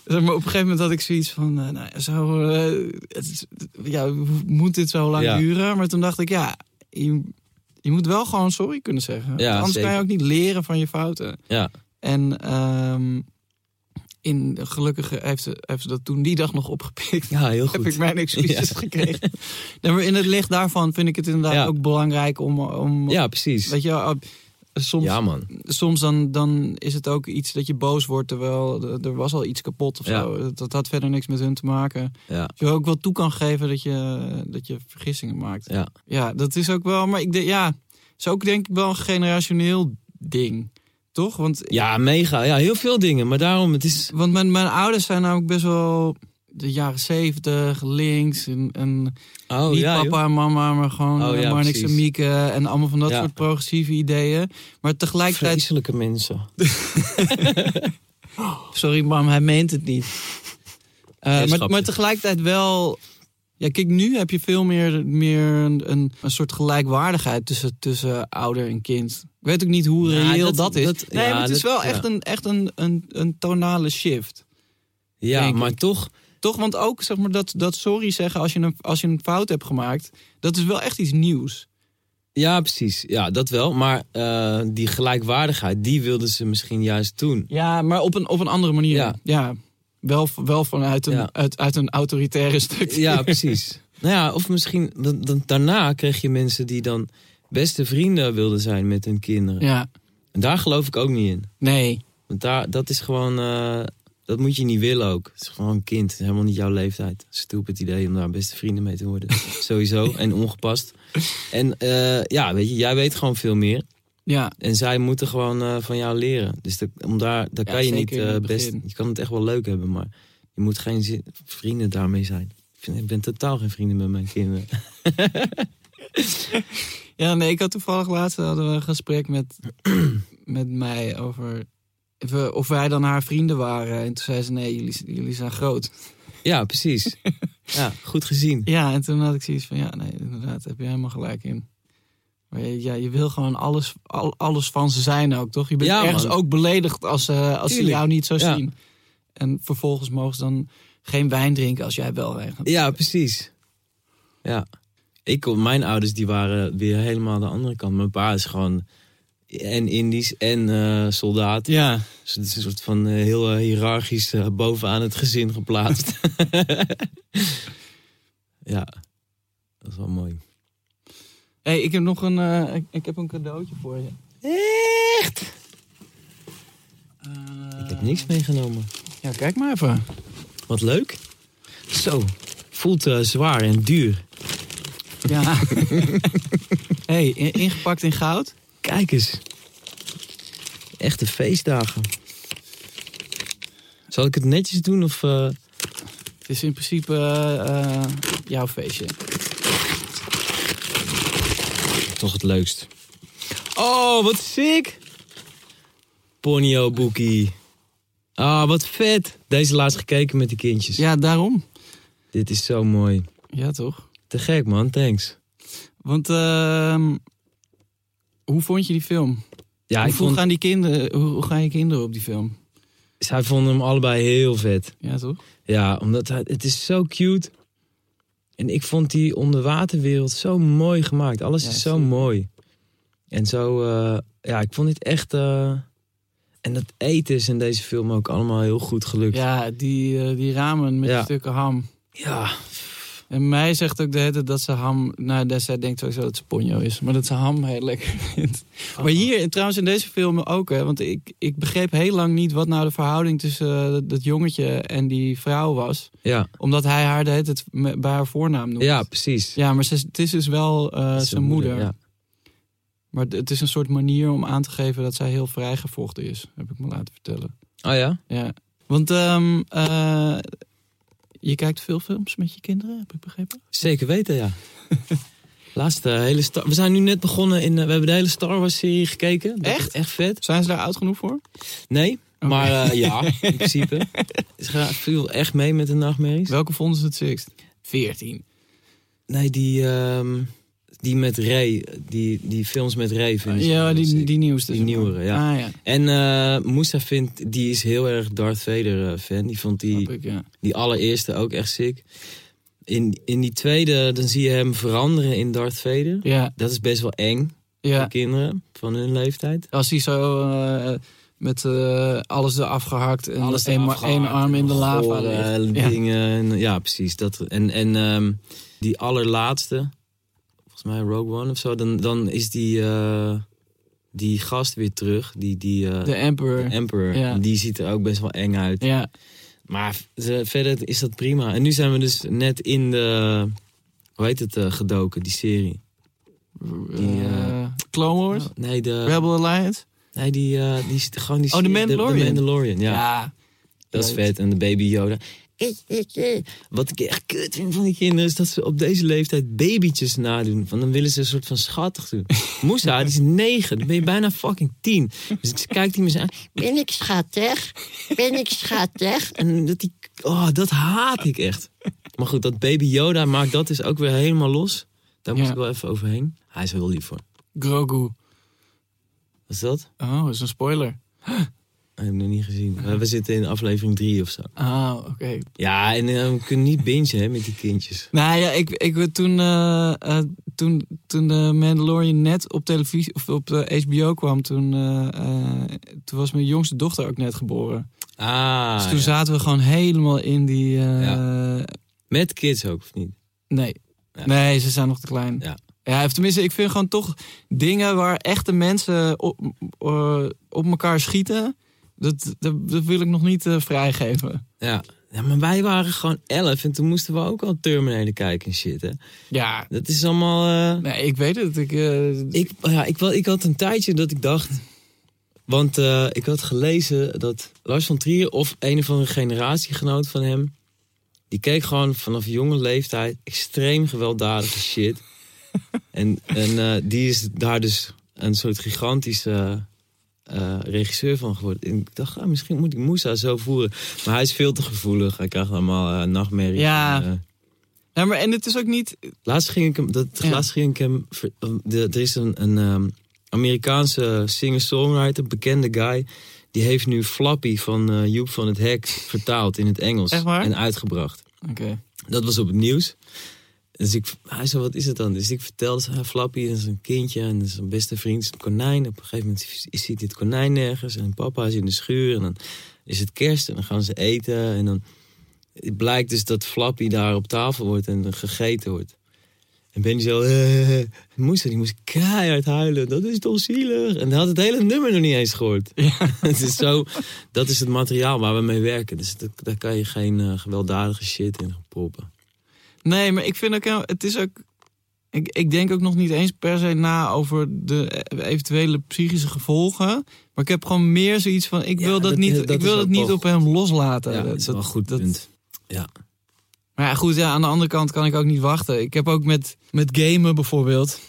[SPEAKER 3] Zeg maar op een gegeven moment had ik zoiets van, eh, nou, ja, zo, eh, het is- ja, hoe- moet dit zo lang
[SPEAKER 4] Ja.
[SPEAKER 3] duren? Maar toen dacht ik, ja, je, je moet wel gewoon sorry kunnen zeggen.
[SPEAKER 4] Ja,
[SPEAKER 3] Want Anders kan je
[SPEAKER 4] zeker.
[SPEAKER 3] ook niet leren van je fouten.
[SPEAKER 4] Ja.
[SPEAKER 3] En ehm, in, gelukkig heeft ze, heeft ze dat toen die dag nog opgepikt. (laughs)
[SPEAKER 4] ja, heel
[SPEAKER 3] Heb
[SPEAKER 4] goed.
[SPEAKER 3] ik mijn excuses
[SPEAKER 4] (laughs) Ja.
[SPEAKER 3] gekregen. Nee, maar in het licht daarvan vind ik het inderdaad
[SPEAKER 4] Ja.
[SPEAKER 3] ook belangrijk om... om
[SPEAKER 4] Ja, precies.
[SPEAKER 3] Weet je, wel, eh, soms,
[SPEAKER 4] Ja, man.
[SPEAKER 3] soms dan, dan is het ook iets dat je boos wordt terwijl er- er was al iets kapot of
[SPEAKER 4] Ja.
[SPEAKER 3] zo. Dat, dat had verder niks met hun te maken.
[SPEAKER 4] Ja.
[SPEAKER 3] Dat je ook wel toe kan geven dat je, dat je vergissingen maakt.
[SPEAKER 4] Ja.
[SPEAKER 3] Ja, dat is ook wel, maar ik denk, ja, is ook denk ik wel een generationeel ding, toch? Want,
[SPEAKER 4] ja, mega. Ja, heel veel dingen. Maar daarom, het is.
[SPEAKER 3] want mijn, mijn ouders zijn namelijk best wel de jaren zeventig, links en, en
[SPEAKER 4] Oh
[SPEAKER 3] niet
[SPEAKER 4] ja. joh.
[SPEAKER 3] papa en mama, maar gewoon
[SPEAKER 4] Oh,
[SPEAKER 3] eh,
[SPEAKER 4] ja,
[SPEAKER 3] Marnix
[SPEAKER 4] precies.
[SPEAKER 3] en Mieke en allemaal van dat
[SPEAKER 4] Ja.
[SPEAKER 3] soort progressieve ideeën. Maar tegelijkertijd
[SPEAKER 4] Vreselijke mensen.
[SPEAKER 3] Sorry, mam, hij meent het (laughs) niet. Eh,
[SPEAKER 4] Nee,
[SPEAKER 3] maar,
[SPEAKER 4] schapje.
[SPEAKER 3] maar tegelijkertijd wel. Ja, kijk, nu heb je veel meer, meer een, een, een soort gelijkwaardigheid tussen, tussen ouder en kind. Ik weet ook niet hoe
[SPEAKER 4] Ja,
[SPEAKER 3] reëel dat,
[SPEAKER 4] dat-
[SPEAKER 3] is.
[SPEAKER 4] dat-
[SPEAKER 3] nee,
[SPEAKER 4] ja,
[SPEAKER 3] maar het is
[SPEAKER 4] dat-
[SPEAKER 3] wel
[SPEAKER 4] ja.
[SPEAKER 3] echt, een, echt een, een, een tonale shift.
[SPEAKER 4] Ja,
[SPEAKER 3] Denk
[SPEAKER 4] maar
[SPEAKER 3] ik.
[SPEAKER 4] toch.
[SPEAKER 3] Toch? Want ook zeg maar, dat, dat sorry zeggen als je, een, als je een fout hebt gemaakt, dat is wel echt iets nieuws.
[SPEAKER 4] Ja, precies. Ja, dat wel. Maar eh, die gelijkwaardigheid, die wilden ze misschien juist toen.
[SPEAKER 3] Ja, maar op een, op een andere manier. Ja.
[SPEAKER 4] Ja.
[SPEAKER 3] Wel, wel vanuit een,
[SPEAKER 4] Ja.
[SPEAKER 3] uit, uit een autoritaire stuk.
[SPEAKER 4] Ja, precies. Nou ja, of misschien dan, dan- daarna kreeg je mensen die dan beste vrienden wilden zijn met hun kinderen.
[SPEAKER 3] (laughs) ja.
[SPEAKER 4] En daar geloof ik ook niet in.
[SPEAKER 3] Nee.
[SPEAKER 4] Want daar, dat is gewoon, eh, dat moet je niet willen ook. Het is gewoon een kind, Het is helemaal niet jouw leeftijd. Stupid idee om daar beste vrienden mee te worden. (laughs) Sowieso, en ongepast. En eh, ja, weet je, jij weet gewoon veel meer.
[SPEAKER 3] Ja.
[SPEAKER 4] En zij moeten gewoon eh, van jou leren. Dus dat, om daar, daar
[SPEAKER 3] Ja,
[SPEAKER 4] kan je
[SPEAKER 3] zeker
[SPEAKER 4] niet
[SPEAKER 3] in het
[SPEAKER 4] eh, best.
[SPEAKER 3] begin.
[SPEAKER 4] Je kan het echt wel leuk hebben, maar je moet geen zi- vrienden daarmee zijn. Ik, vind, ik ben totaal geen vrienden met mijn
[SPEAKER 3] (laughs)
[SPEAKER 4] kinderen.
[SPEAKER 3] Ja, nee, ik had toevallig laatst hadden we een gesprek met, (clears throat) met mij over of we- of wij dan haar vrienden waren. En toen zei ze, nee, jullie, jullie zijn groot.
[SPEAKER 4] Ja, precies. ja, goed gezien.
[SPEAKER 3] Ja, en toen had ik zoiets van, ja, nee, inderdaad, heb je helemaal gelijk in. Maar je- ja, je wil gewoon alles, al, alles van ze zijn ook, toch? Je bent
[SPEAKER 4] Ja,
[SPEAKER 3] ergens
[SPEAKER 4] man.
[SPEAKER 3] ook beledigd als, eh, als ze
[SPEAKER 4] Tuurlijk.
[SPEAKER 3] jou niet zo
[SPEAKER 4] Ja.
[SPEAKER 3] zien. En vervolgens mogen ze dan geen wijn drinken als jij wel wijn gaat
[SPEAKER 4] Ja, precies. Ja. Ik, mijn ouders die waren weer helemaal de andere kant. Mijn pa is gewoon en Indisch en eh, soldaat.
[SPEAKER 3] Ja.
[SPEAKER 4] Dus het is een soort van eh, heel eh, hiërarchisch eh, bovenaan het gezin geplaatst. (laughs) ja, dat is wel mooi.
[SPEAKER 3] hey, ik heb nog een, eh, ik, ik heb een cadeautje voor je.
[SPEAKER 4] Echt?
[SPEAKER 3] Eh,
[SPEAKER 4] Ik heb niks meegenomen.
[SPEAKER 3] Ja, kijk maar even.
[SPEAKER 4] Wat leuk. Zo, voelt eh, zwaar en duur.
[SPEAKER 3] Ja. (laughs) hey, in- ingepakt in goud.
[SPEAKER 4] Kijk eens. Echte feestdagen. Zal ik het netjes doen of... eh,
[SPEAKER 3] Het is in principe eh, eh, jouw feestje.
[SPEAKER 4] Toch het leukst. Oh, wat sick! Ponyo Boekie. Ah, wat vet. Deze laatst gekeken met die kindjes.
[SPEAKER 3] Ja, daarom.
[SPEAKER 4] Dit is zo mooi.
[SPEAKER 3] Ja, toch?
[SPEAKER 4] Te gek, man. Thanks.
[SPEAKER 3] Want ehm, hoe vond je die film?
[SPEAKER 4] Ja,
[SPEAKER 3] hoe,
[SPEAKER 4] ik vond,
[SPEAKER 3] gaan die kinderen, hoe, hoe gaan je kinderen op die film?
[SPEAKER 4] zij vonden hem allebei heel vet.
[SPEAKER 3] Ja, toch?
[SPEAKER 4] Ja, omdat hij, het is zo cute. En ik vond die onderwaterwereld zo mooi gemaakt. Alles
[SPEAKER 3] Ja,
[SPEAKER 4] is zo
[SPEAKER 3] zeker.
[SPEAKER 4] mooi. En zo, eh, ja, ik vond dit echt... eh, en dat eten is in deze film ook allemaal heel goed gelukt.
[SPEAKER 3] Ja, die, eh, die ramen met
[SPEAKER 4] Ja.
[SPEAKER 3] die stukken ham.
[SPEAKER 4] ja.
[SPEAKER 3] En mij zegt ook de hele tijd dat ze ham... Nou, dat- zij denkt sowieso dat ze ponyo is. Maar dat ze ham heel lekker (laughs) vindt. Maar hier, trouwens in deze film ook. Hè, want ik, ik begreep heel lang niet wat nou de verhouding tussen eh, dat, dat jongetje en die vrouw was.
[SPEAKER 4] ja.
[SPEAKER 3] Omdat hij haar de hele tijd me- bij haar voornaam noemt.
[SPEAKER 4] Ja, precies.
[SPEAKER 3] Ja, maar ze, het is dus wel eh, zijn moeder.
[SPEAKER 4] ja.
[SPEAKER 3] Maar d- het is een soort manier om aan te geven dat zij heel vrijgevochten is. Heb ik me laten vertellen.
[SPEAKER 4] Oh ja?
[SPEAKER 3] Ja. Want ehm, eh, je kijkt veel films met je kinderen, heb ik begrepen?
[SPEAKER 4] Zeker weten,
[SPEAKER 3] (laughs)
[SPEAKER 4] ja. Laatste eh, hele Star... We zijn nu net begonnen in... eh, we hebben de hele Star Wars serie gekeken. Dat is
[SPEAKER 3] Echt? Oh.
[SPEAKER 4] Echt vet.
[SPEAKER 3] Zijn ze daar oud genoeg voor?
[SPEAKER 4] Nee,
[SPEAKER 3] Oké.
[SPEAKER 4] maar eh,
[SPEAKER 3] (laughs)
[SPEAKER 4] ja, in principe. Ze viel echt mee met de nachtmerries.
[SPEAKER 3] Welke vonden ze het sixth? 14.
[SPEAKER 4] Nee, die... ehm, die met Ray. Die, die films met Ray vinden ze
[SPEAKER 3] Ja,
[SPEAKER 4] heel
[SPEAKER 3] die,
[SPEAKER 4] sick.
[SPEAKER 3] die nieuwste.
[SPEAKER 4] Die
[SPEAKER 3] zeg maar.
[SPEAKER 4] nieuwere, ja.
[SPEAKER 3] Ah ja,
[SPEAKER 4] En eh Moussa vindt... Die is heel erg Darth Vader eh, fan. Die vond die...
[SPEAKER 3] snap ik, ja.
[SPEAKER 4] Die allereerste ook echt sick. In, in die tweede, dan zie je hem veranderen in Darth Vader.
[SPEAKER 3] Ja,
[SPEAKER 4] Dat is best wel eng
[SPEAKER 3] ja.
[SPEAKER 4] voor kinderen van hun leeftijd.
[SPEAKER 3] Als hij zo eh, met eh, alles eraf gehakt en
[SPEAKER 4] Alles
[SPEAKER 3] één,
[SPEAKER 4] eraf
[SPEAKER 3] maar één
[SPEAKER 4] gehakt
[SPEAKER 3] arm in de lava
[SPEAKER 4] Voor,
[SPEAKER 3] ligt.
[SPEAKER 4] eh,
[SPEAKER 3] Ja.
[SPEAKER 4] dingen. en- eh, Ja, precies. Dat, en en ehm, die allerlaatste, volgens mij Rogue One of zo, dan, dan is die, eh, die gast weer terug. Die, die, eh,
[SPEAKER 3] De Emperor.
[SPEAKER 4] de Emperor.
[SPEAKER 3] Ja.
[SPEAKER 4] Die ziet er ook best wel eng uit.
[SPEAKER 3] ja.
[SPEAKER 4] Maar ze- verder is dat prima. En nu zijn we dus net in de, hoe heet het, eh, gedoken, die serie. Die, eh,
[SPEAKER 3] Eh, Clone Wars?
[SPEAKER 4] Nee, de,
[SPEAKER 3] Rebel Alliance?
[SPEAKER 4] nee die, eh, die, die, gewoon die
[SPEAKER 3] Oh, de
[SPEAKER 4] de-
[SPEAKER 3] Mandalorian.
[SPEAKER 4] De, Mandalorian, ja.
[SPEAKER 3] Ja.
[SPEAKER 4] Dat is vet. En de baby Yoda. Wat ik echt kut vind van die kinderen is dat ze op deze leeftijd babytjes nadoen. Want dan willen ze een soort van schattig doen. Moussa, die is negen. Dan ben je bijna fucking tien. Dus ik kijk die me zo aan.
[SPEAKER 5] Ben ik schattig? Ben ik schattig?
[SPEAKER 4] En dat, die, oh, dat haat ik echt. Maar goed, dat baby Yoda maakt dat dus ook weer helemaal los. Daar moet
[SPEAKER 3] Ja.
[SPEAKER 4] ik wel even overheen. Hij is heel lief voor.
[SPEAKER 3] Grogu.
[SPEAKER 4] Wat is dat?
[SPEAKER 3] Oh, is een spoiler.
[SPEAKER 4] Ik heb hem nog niet gezien. Maar We zitten in aflevering drie of zo.
[SPEAKER 3] Ah, oké.
[SPEAKER 4] Ja, en eh, we kunnen niet bingen hè, met die kindjes.
[SPEAKER 3] Nou ja, ik, ik, toen, eh, eh, toen, toen de Mandalorian net op televisie of op eh, HBO kwam, toen, eh, eh, toen was mijn jongste dochter ook net geboren.
[SPEAKER 4] Ah,
[SPEAKER 3] dus toen
[SPEAKER 4] ja.
[SPEAKER 3] zaten we gewoon helemaal in die. eh,
[SPEAKER 4] met kids ook, of niet?
[SPEAKER 3] Nee.
[SPEAKER 4] Ja.
[SPEAKER 3] Nee, ze zijn nog te klein.
[SPEAKER 4] Ja.
[SPEAKER 3] Ja, of tenminste, ik vind gewoon toch dingen waar echte mensen op, eh, op elkaar schieten. Dat, dat, dat wil ik nog niet eh, vrijgeven.
[SPEAKER 4] Ja. ja, maar wij waren gewoon elf en toen moesten we ook al Terminator kijken en shit, hè.
[SPEAKER 3] Ja,
[SPEAKER 4] Dat is allemaal... eh,
[SPEAKER 3] nee, ik weet het. Ik, eh,
[SPEAKER 4] Ik, ja, ik, wa- ik had een tijdje dat ik dacht... Want eh, ik had gelezen dat Lars van Trier of een of andere generatiegenoot van hem... Die keek gewoon vanaf jonge leeftijd extreem gewelddadige shit. en en eh, die is daar dus een soort gigantische eh, regisseur van geworden. En ik dacht, ah, misschien moet ik Moussa zo voeren. Maar hij is veel te gevoelig. Hij krijgt allemaal eh, nachtmerries.
[SPEAKER 3] Ja.
[SPEAKER 4] En, eh,
[SPEAKER 3] Ja, maar en het is ook niet.
[SPEAKER 4] Laatst ging ik hem, dat,
[SPEAKER 3] Ja.
[SPEAKER 4] laatst ging ik hem ver- um, de, er is een, een ehm, Amerikaanse singer-songwriter, bekende guy, die heeft nu Flappy van eh, Joep van het Hek vertaald in het Engels
[SPEAKER 3] Echt waar?
[SPEAKER 4] en uitgebracht.
[SPEAKER 3] Oké.
[SPEAKER 4] Dat was op het nieuws. Dus ik, hij zei, wat is het dan? Dus ik vertelde ze, ah, Flappy dat is een kindje en dat is zijn beste vriend is een konijn. Op een gegeven moment ziet dit konijn nergens en papa is in de schuur. En dan is het kerst en dan gaan ze eten. En dan het blijkt dus dat Flappy daar op tafel wordt en dan gegeten wordt. En Benny zo, eh, moest die moest keihard huilen. Dat is toch zielig? En hij had het hele nummer nog niet eens gehoord. (laughs) het is zo, dat is het materiaal waar we mee werken. Dus dat, daar kan je geen eh, gewelddadige shit in proppen.
[SPEAKER 3] Nee, maar ik vind ook, heel- het is ook, ik, ik denk ook nog niet eens per se na over de eventuele psychische gevolgen. Maar ik heb gewoon meer zoiets van, ik
[SPEAKER 4] Ja,
[SPEAKER 3] wil dat,
[SPEAKER 4] dat-
[SPEAKER 3] niet,
[SPEAKER 4] dat
[SPEAKER 3] ik
[SPEAKER 4] is
[SPEAKER 3] wil
[SPEAKER 4] wel
[SPEAKER 3] dat niet
[SPEAKER 4] toch-
[SPEAKER 3] op hem loslaten.
[SPEAKER 4] Ja, dat is wel een goed
[SPEAKER 3] dat-
[SPEAKER 4] punt. Ja.
[SPEAKER 3] Maar ja, goed, ja, aan de andere kant kan ik ook niet wachten. Ik heb ook met, met gamen bijvoorbeeld.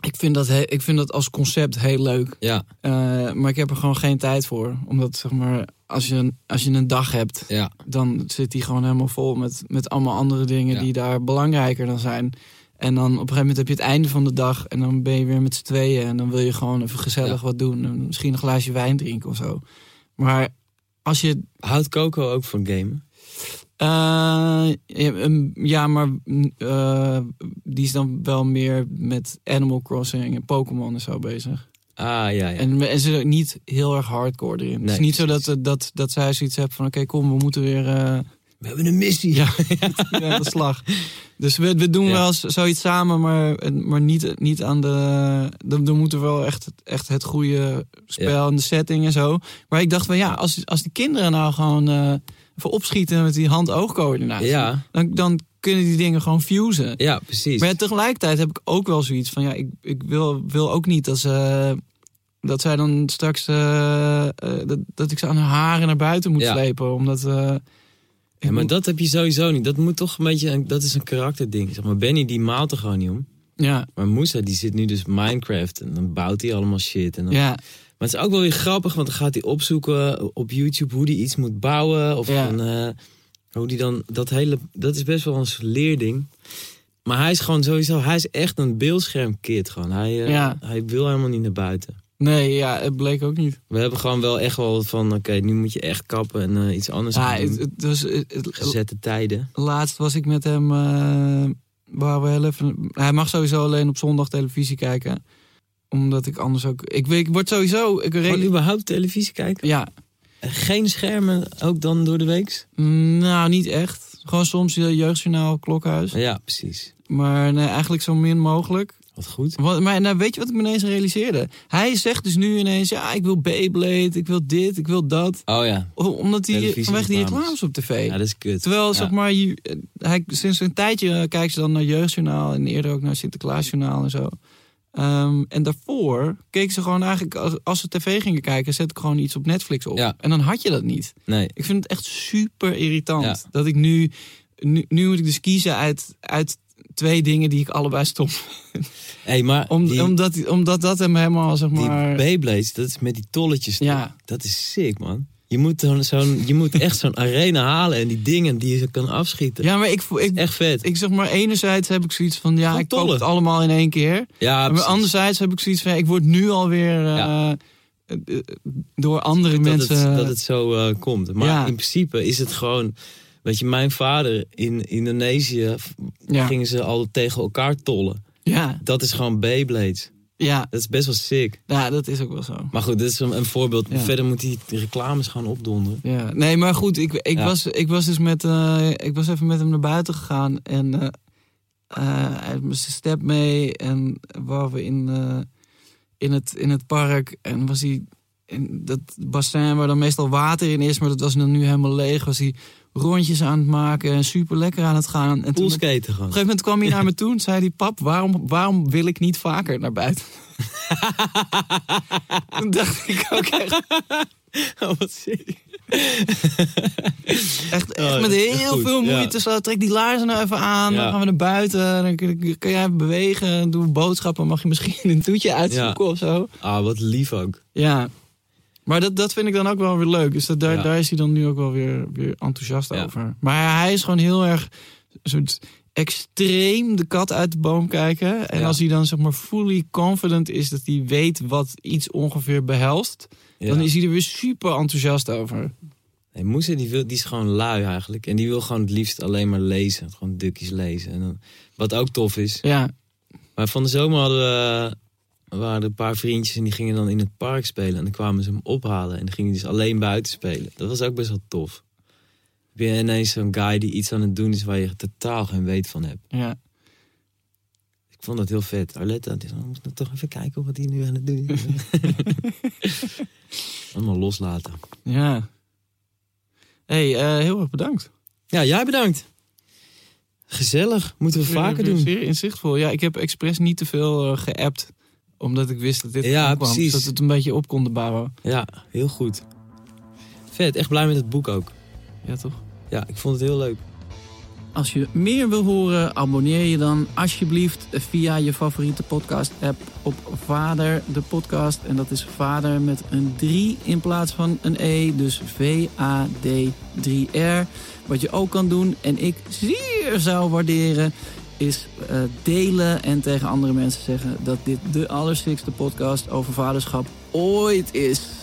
[SPEAKER 3] Ik vind, dat he- ik vind dat als concept heel leuk.
[SPEAKER 4] Ja,
[SPEAKER 3] Eh, maar ik heb er gewoon geen tijd voor. Omdat zeg maar, als je, een- als je een dag hebt,
[SPEAKER 4] ja.
[SPEAKER 3] dan zit die gewoon helemaal vol met, met allemaal andere dingen
[SPEAKER 4] Ja.
[SPEAKER 3] die daar belangrijker dan zijn. En dan op een gegeven moment heb je het einde van de dag en dan ben je weer met z'n tweeën. En dan wil je gewoon even gezellig
[SPEAKER 4] Ja.
[SPEAKER 3] wat doen. En misschien een glaasje wijn drinken of zo. Maar als je
[SPEAKER 4] Houdt Coco ook van gamen?
[SPEAKER 3] eh, ja, een- ja, maar mm, eh, die is dan wel meer met Animal Crossing en Pokémon en zo bezig.
[SPEAKER 4] Ah, ja, ja.
[SPEAKER 3] En, en ze is ook niet heel erg hardcore erin. het is
[SPEAKER 4] Nee,
[SPEAKER 3] niet
[SPEAKER 4] precies.
[SPEAKER 3] zo dat, dat, dat zij zoiets hebben van... oké, kom, we moeten weer eh,
[SPEAKER 4] We hebben een missie. Ja.
[SPEAKER 3] weer aan de slag. Dus we, we doen
[SPEAKER 4] Ja.
[SPEAKER 3] wel eens zoiets samen, maar, maar niet, niet aan de... Dan, dan moeten we wel echt, echt het goede spel en de setting en zo. Maar ik dacht van ja, als, als de kinderen nou gewoon... eh, even opschieten met die hand-oogcoördinatie
[SPEAKER 4] Ja,
[SPEAKER 3] dan, dan kunnen die dingen gewoon fusen.
[SPEAKER 4] ja, precies.
[SPEAKER 3] Maar ja, tegelijkertijd heb ik ook wel zoiets van, ja, ik, ik wil, wil ook niet dat ze... Dat zij dan straks, eh, eh, dat, dat ik ze aan haar haren naar buiten moet
[SPEAKER 4] Ja.
[SPEAKER 3] slepen. Omdat, eh, ik
[SPEAKER 4] Ja, maar
[SPEAKER 3] moet-
[SPEAKER 4] dat heb je sowieso niet. Dat moet toch een beetje, een- dat is een karakterding. Zeg maar, Benny die maalt er gewoon niet om.
[SPEAKER 3] ja,
[SPEAKER 4] Maar Moesa die zit nu dus Minecraft en dan bouwt hij allemaal shit. En dan...
[SPEAKER 3] ja,
[SPEAKER 4] Maar het is ook wel weer grappig, want dan gaat hij opzoeken op YouTube hoe hij iets moet bouwen. Of
[SPEAKER 3] Ja.
[SPEAKER 4] van, eh, hoe die dan, dat hele, dat is best wel ons leerding. Maar hij is gewoon sowieso, hij is echt een beeldschermkid gewoon. Hij, eh,
[SPEAKER 3] Ja.
[SPEAKER 4] hij wil helemaal niet naar buiten.
[SPEAKER 3] nee, ja, het bleek ook niet.
[SPEAKER 4] We hebben gewoon wel echt wel van, oké, nu moet je echt kappen en eh, iets anders
[SPEAKER 3] Ja,
[SPEAKER 4] gaan doen.
[SPEAKER 3] Ah, het, het was, het- het-
[SPEAKER 4] Gezette tijden.
[SPEAKER 3] laatst was ik met hem. eh waar we heel even. Hij mag sowieso alleen op zondag televisie kijken. Omdat ik anders ook. Ik, weet- ik word sowieso. Ik
[SPEAKER 4] Gewoon
[SPEAKER 3] reden,
[SPEAKER 4] überhaupt televisie kijken?
[SPEAKER 3] ja,
[SPEAKER 4] Geen schermen, ook dan door de week?
[SPEAKER 3] Nou, niet echt. Gewoon soms je jeugdjournaal, klokhuis.
[SPEAKER 4] Ja, precies.
[SPEAKER 3] Maar nee, eigenlijk zo min mogelijk.
[SPEAKER 4] Wat goed.
[SPEAKER 3] Wat, maar nou, weet je wat ik me ineens realiseerde? Hij zegt dus nu ineens, ja, ik wil Beyblade, ik wil dit, ik wil dat.
[SPEAKER 4] Oh ja,
[SPEAKER 3] O- Omdat hij
[SPEAKER 4] Televisie
[SPEAKER 3] vanwege die
[SPEAKER 4] reclames.
[SPEAKER 3] reclames op tv.
[SPEAKER 4] ja dat is kut.
[SPEAKER 3] Terwijl,
[SPEAKER 4] Ja.
[SPEAKER 3] zeg maar, je- eh, hij, sinds een tijdje eh, kijkt ze dan naar Jeugdjournaal en eerder ook naar Sinterklaasjournaal en zo. Ehm, en daarvoor keek ze gewoon eigenlijk, als, als ze tv gingen kijken, zet ik gewoon iets op Netflix op.
[SPEAKER 4] Ja.
[SPEAKER 3] En dan had je dat niet.
[SPEAKER 4] Nee,
[SPEAKER 3] Ik vind het echt super irritant.
[SPEAKER 4] Ja.
[SPEAKER 3] Dat ik nu, nu, nu moet ik dus kiezen uit, uit twee dingen die ik allebei stom
[SPEAKER 4] hey, maar
[SPEAKER 3] om,
[SPEAKER 4] die,
[SPEAKER 3] omdat, omdat dat hem helemaal, zeg
[SPEAKER 4] die
[SPEAKER 3] maar...
[SPEAKER 4] Beyblades, dat is met die tolletjes.
[SPEAKER 3] Ja.
[SPEAKER 4] Dat is sick, man. Je moet, dan zo'n, je moet echt zo'n arena halen en die dingen die je kan afschieten.
[SPEAKER 3] ja, maar ik, voel- ik,
[SPEAKER 4] Echt vet.
[SPEAKER 3] ik zeg maar, enerzijds heb ik zoiets van, ja,
[SPEAKER 4] Gewoon
[SPEAKER 3] ik koop
[SPEAKER 4] tollen.
[SPEAKER 3] het allemaal in één keer.
[SPEAKER 4] ja,
[SPEAKER 3] maar
[SPEAKER 4] precies.
[SPEAKER 3] anderzijds heb ik zoiets van, ja, ik word nu alweer eh,
[SPEAKER 4] Ja.
[SPEAKER 3] eh, eh, door andere
[SPEAKER 4] dat,
[SPEAKER 3] mensen...
[SPEAKER 4] het, dat het zo eh, komt. Maar
[SPEAKER 3] Ja.
[SPEAKER 4] in principe is het gewoon... Weet je, mijn vader in Indonesië v-
[SPEAKER 3] Ja.
[SPEAKER 4] gingen ze al tegen elkaar tollen.
[SPEAKER 3] ja,
[SPEAKER 4] Dat is gewoon Beyblades.
[SPEAKER 3] ja,
[SPEAKER 4] Dat is best wel sick.
[SPEAKER 3] ja, dat is ook wel zo.
[SPEAKER 4] Maar goed, dit is een, een voorbeeld.
[SPEAKER 3] Ja.
[SPEAKER 4] Verder moet die reclames gaan opdonderen.
[SPEAKER 3] Ja, nee, maar goed, ik, ik,
[SPEAKER 4] Ja.
[SPEAKER 3] was, ik was dus met, eh, ik was even met hem naar buiten gegaan en eh, eh, hij had mijn step mee en waren we in, eh, in, het, in het park en was hij in dat bassin waar dan meestal water in is, maar dat was dan nu helemaal leeg, was hij rondjes aan het maken en super lekker aan het gaan. En toen op een
[SPEAKER 4] Poolskaten gewoon. (laughs)
[SPEAKER 3] gegeven moment kwam hij naar me toe en zei hij, pap, waarom, waarom wil ik niet vaker naar
[SPEAKER 4] (laughs)
[SPEAKER 3] buiten? toen dacht ik ook echt,
[SPEAKER 4] Oh, wat sick.
[SPEAKER 3] Echt,
[SPEAKER 4] Oh,
[SPEAKER 3] echt
[SPEAKER 4] dat
[SPEAKER 3] met
[SPEAKER 4] is echt
[SPEAKER 3] heel
[SPEAKER 4] goed,
[SPEAKER 3] veel
[SPEAKER 4] ja.
[SPEAKER 3] moeite. Zo, trek die laarzen nou even aan.
[SPEAKER 4] Ja.
[SPEAKER 3] Dan gaan we naar buiten. Dan kun, kun- kun jij even bewegen. Doe boodschappen. Mag je misschien een toetje uitzoeken of zo.
[SPEAKER 4] Ah, wat lief ook.
[SPEAKER 3] Ja. Maar dat, dat vind ik dan ook wel weer leuk. Dus dat, daar,
[SPEAKER 4] Ja.
[SPEAKER 3] daar is hij dan nu ook wel weer, weer enthousiast
[SPEAKER 4] Ja.
[SPEAKER 3] over. Maar hij is gewoon heel erg een soort extreem de kat uit de boom kijken. En
[SPEAKER 4] Ja.
[SPEAKER 3] als hij dan zeg maar fully confident is dat hij weet wat iets ongeveer behelst.
[SPEAKER 4] Ja.
[SPEAKER 3] Dan is hij er weer super enthousiast over.
[SPEAKER 4] En Moesa die, wil, die is gewoon lui eigenlijk. En die wil gewoon het liefst alleen maar lezen. Gewoon dukjes lezen. En dan, wat ook tof is.
[SPEAKER 6] Ja,
[SPEAKER 4] Maar van de zomer hadden we, waren er een paar vriendjes en die gingen dan in het park spelen. En dan kwamen ze hem ophalen en dan gingen die dus alleen buiten spelen. Dat was ook best wel tof. Heb je ineens zo'n guy die iets aan het doen is waar je totaal geen weet van hebt.
[SPEAKER 6] ja.
[SPEAKER 4] Ik vond dat heel vet. Arletta, die zei, "Oh, we moeten toch even kijken wat hij nu aan het doen is. (laughs) Allemaal loslaten.
[SPEAKER 6] Ja. hey, eh, heel erg bedankt.
[SPEAKER 4] Ja, jij bedankt. Gezellig. Moeten we vaker
[SPEAKER 6] Zeer-
[SPEAKER 4] doen.
[SPEAKER 6] Zeer inzichtvol. Ja, ik heb expres niet te veel eh, geappt. Omdat ik wist dat dit
[SPEAKER 4] Ja,
[SPEAKER 6] kwam.
[SPEAKER 4] precies.
[SPEAKER 6] Zodat we het een beetje op konden bouwen.
[SPEAKER 4] Ja, heel goed. Vet, echt blij met het boek ook.
[SPEAKER 6] Ja, toch?
[SPEAKER 4] Ja, ik vond het heel leuk.
[SPEAKER 3] Als je meer wil horen, abonneer je dan alsjeblieft via je favoriete podcast-app op Vader de Podcast. En dat is Vader met een 3 in plaats van een E, dus V-A-D-3-R. Wat je ook kan doen, en ik zeer zou waarderen, is eh, delen en tegen andere mensen zeggen dat dit de allersikste podcast over vaderschap ooit is.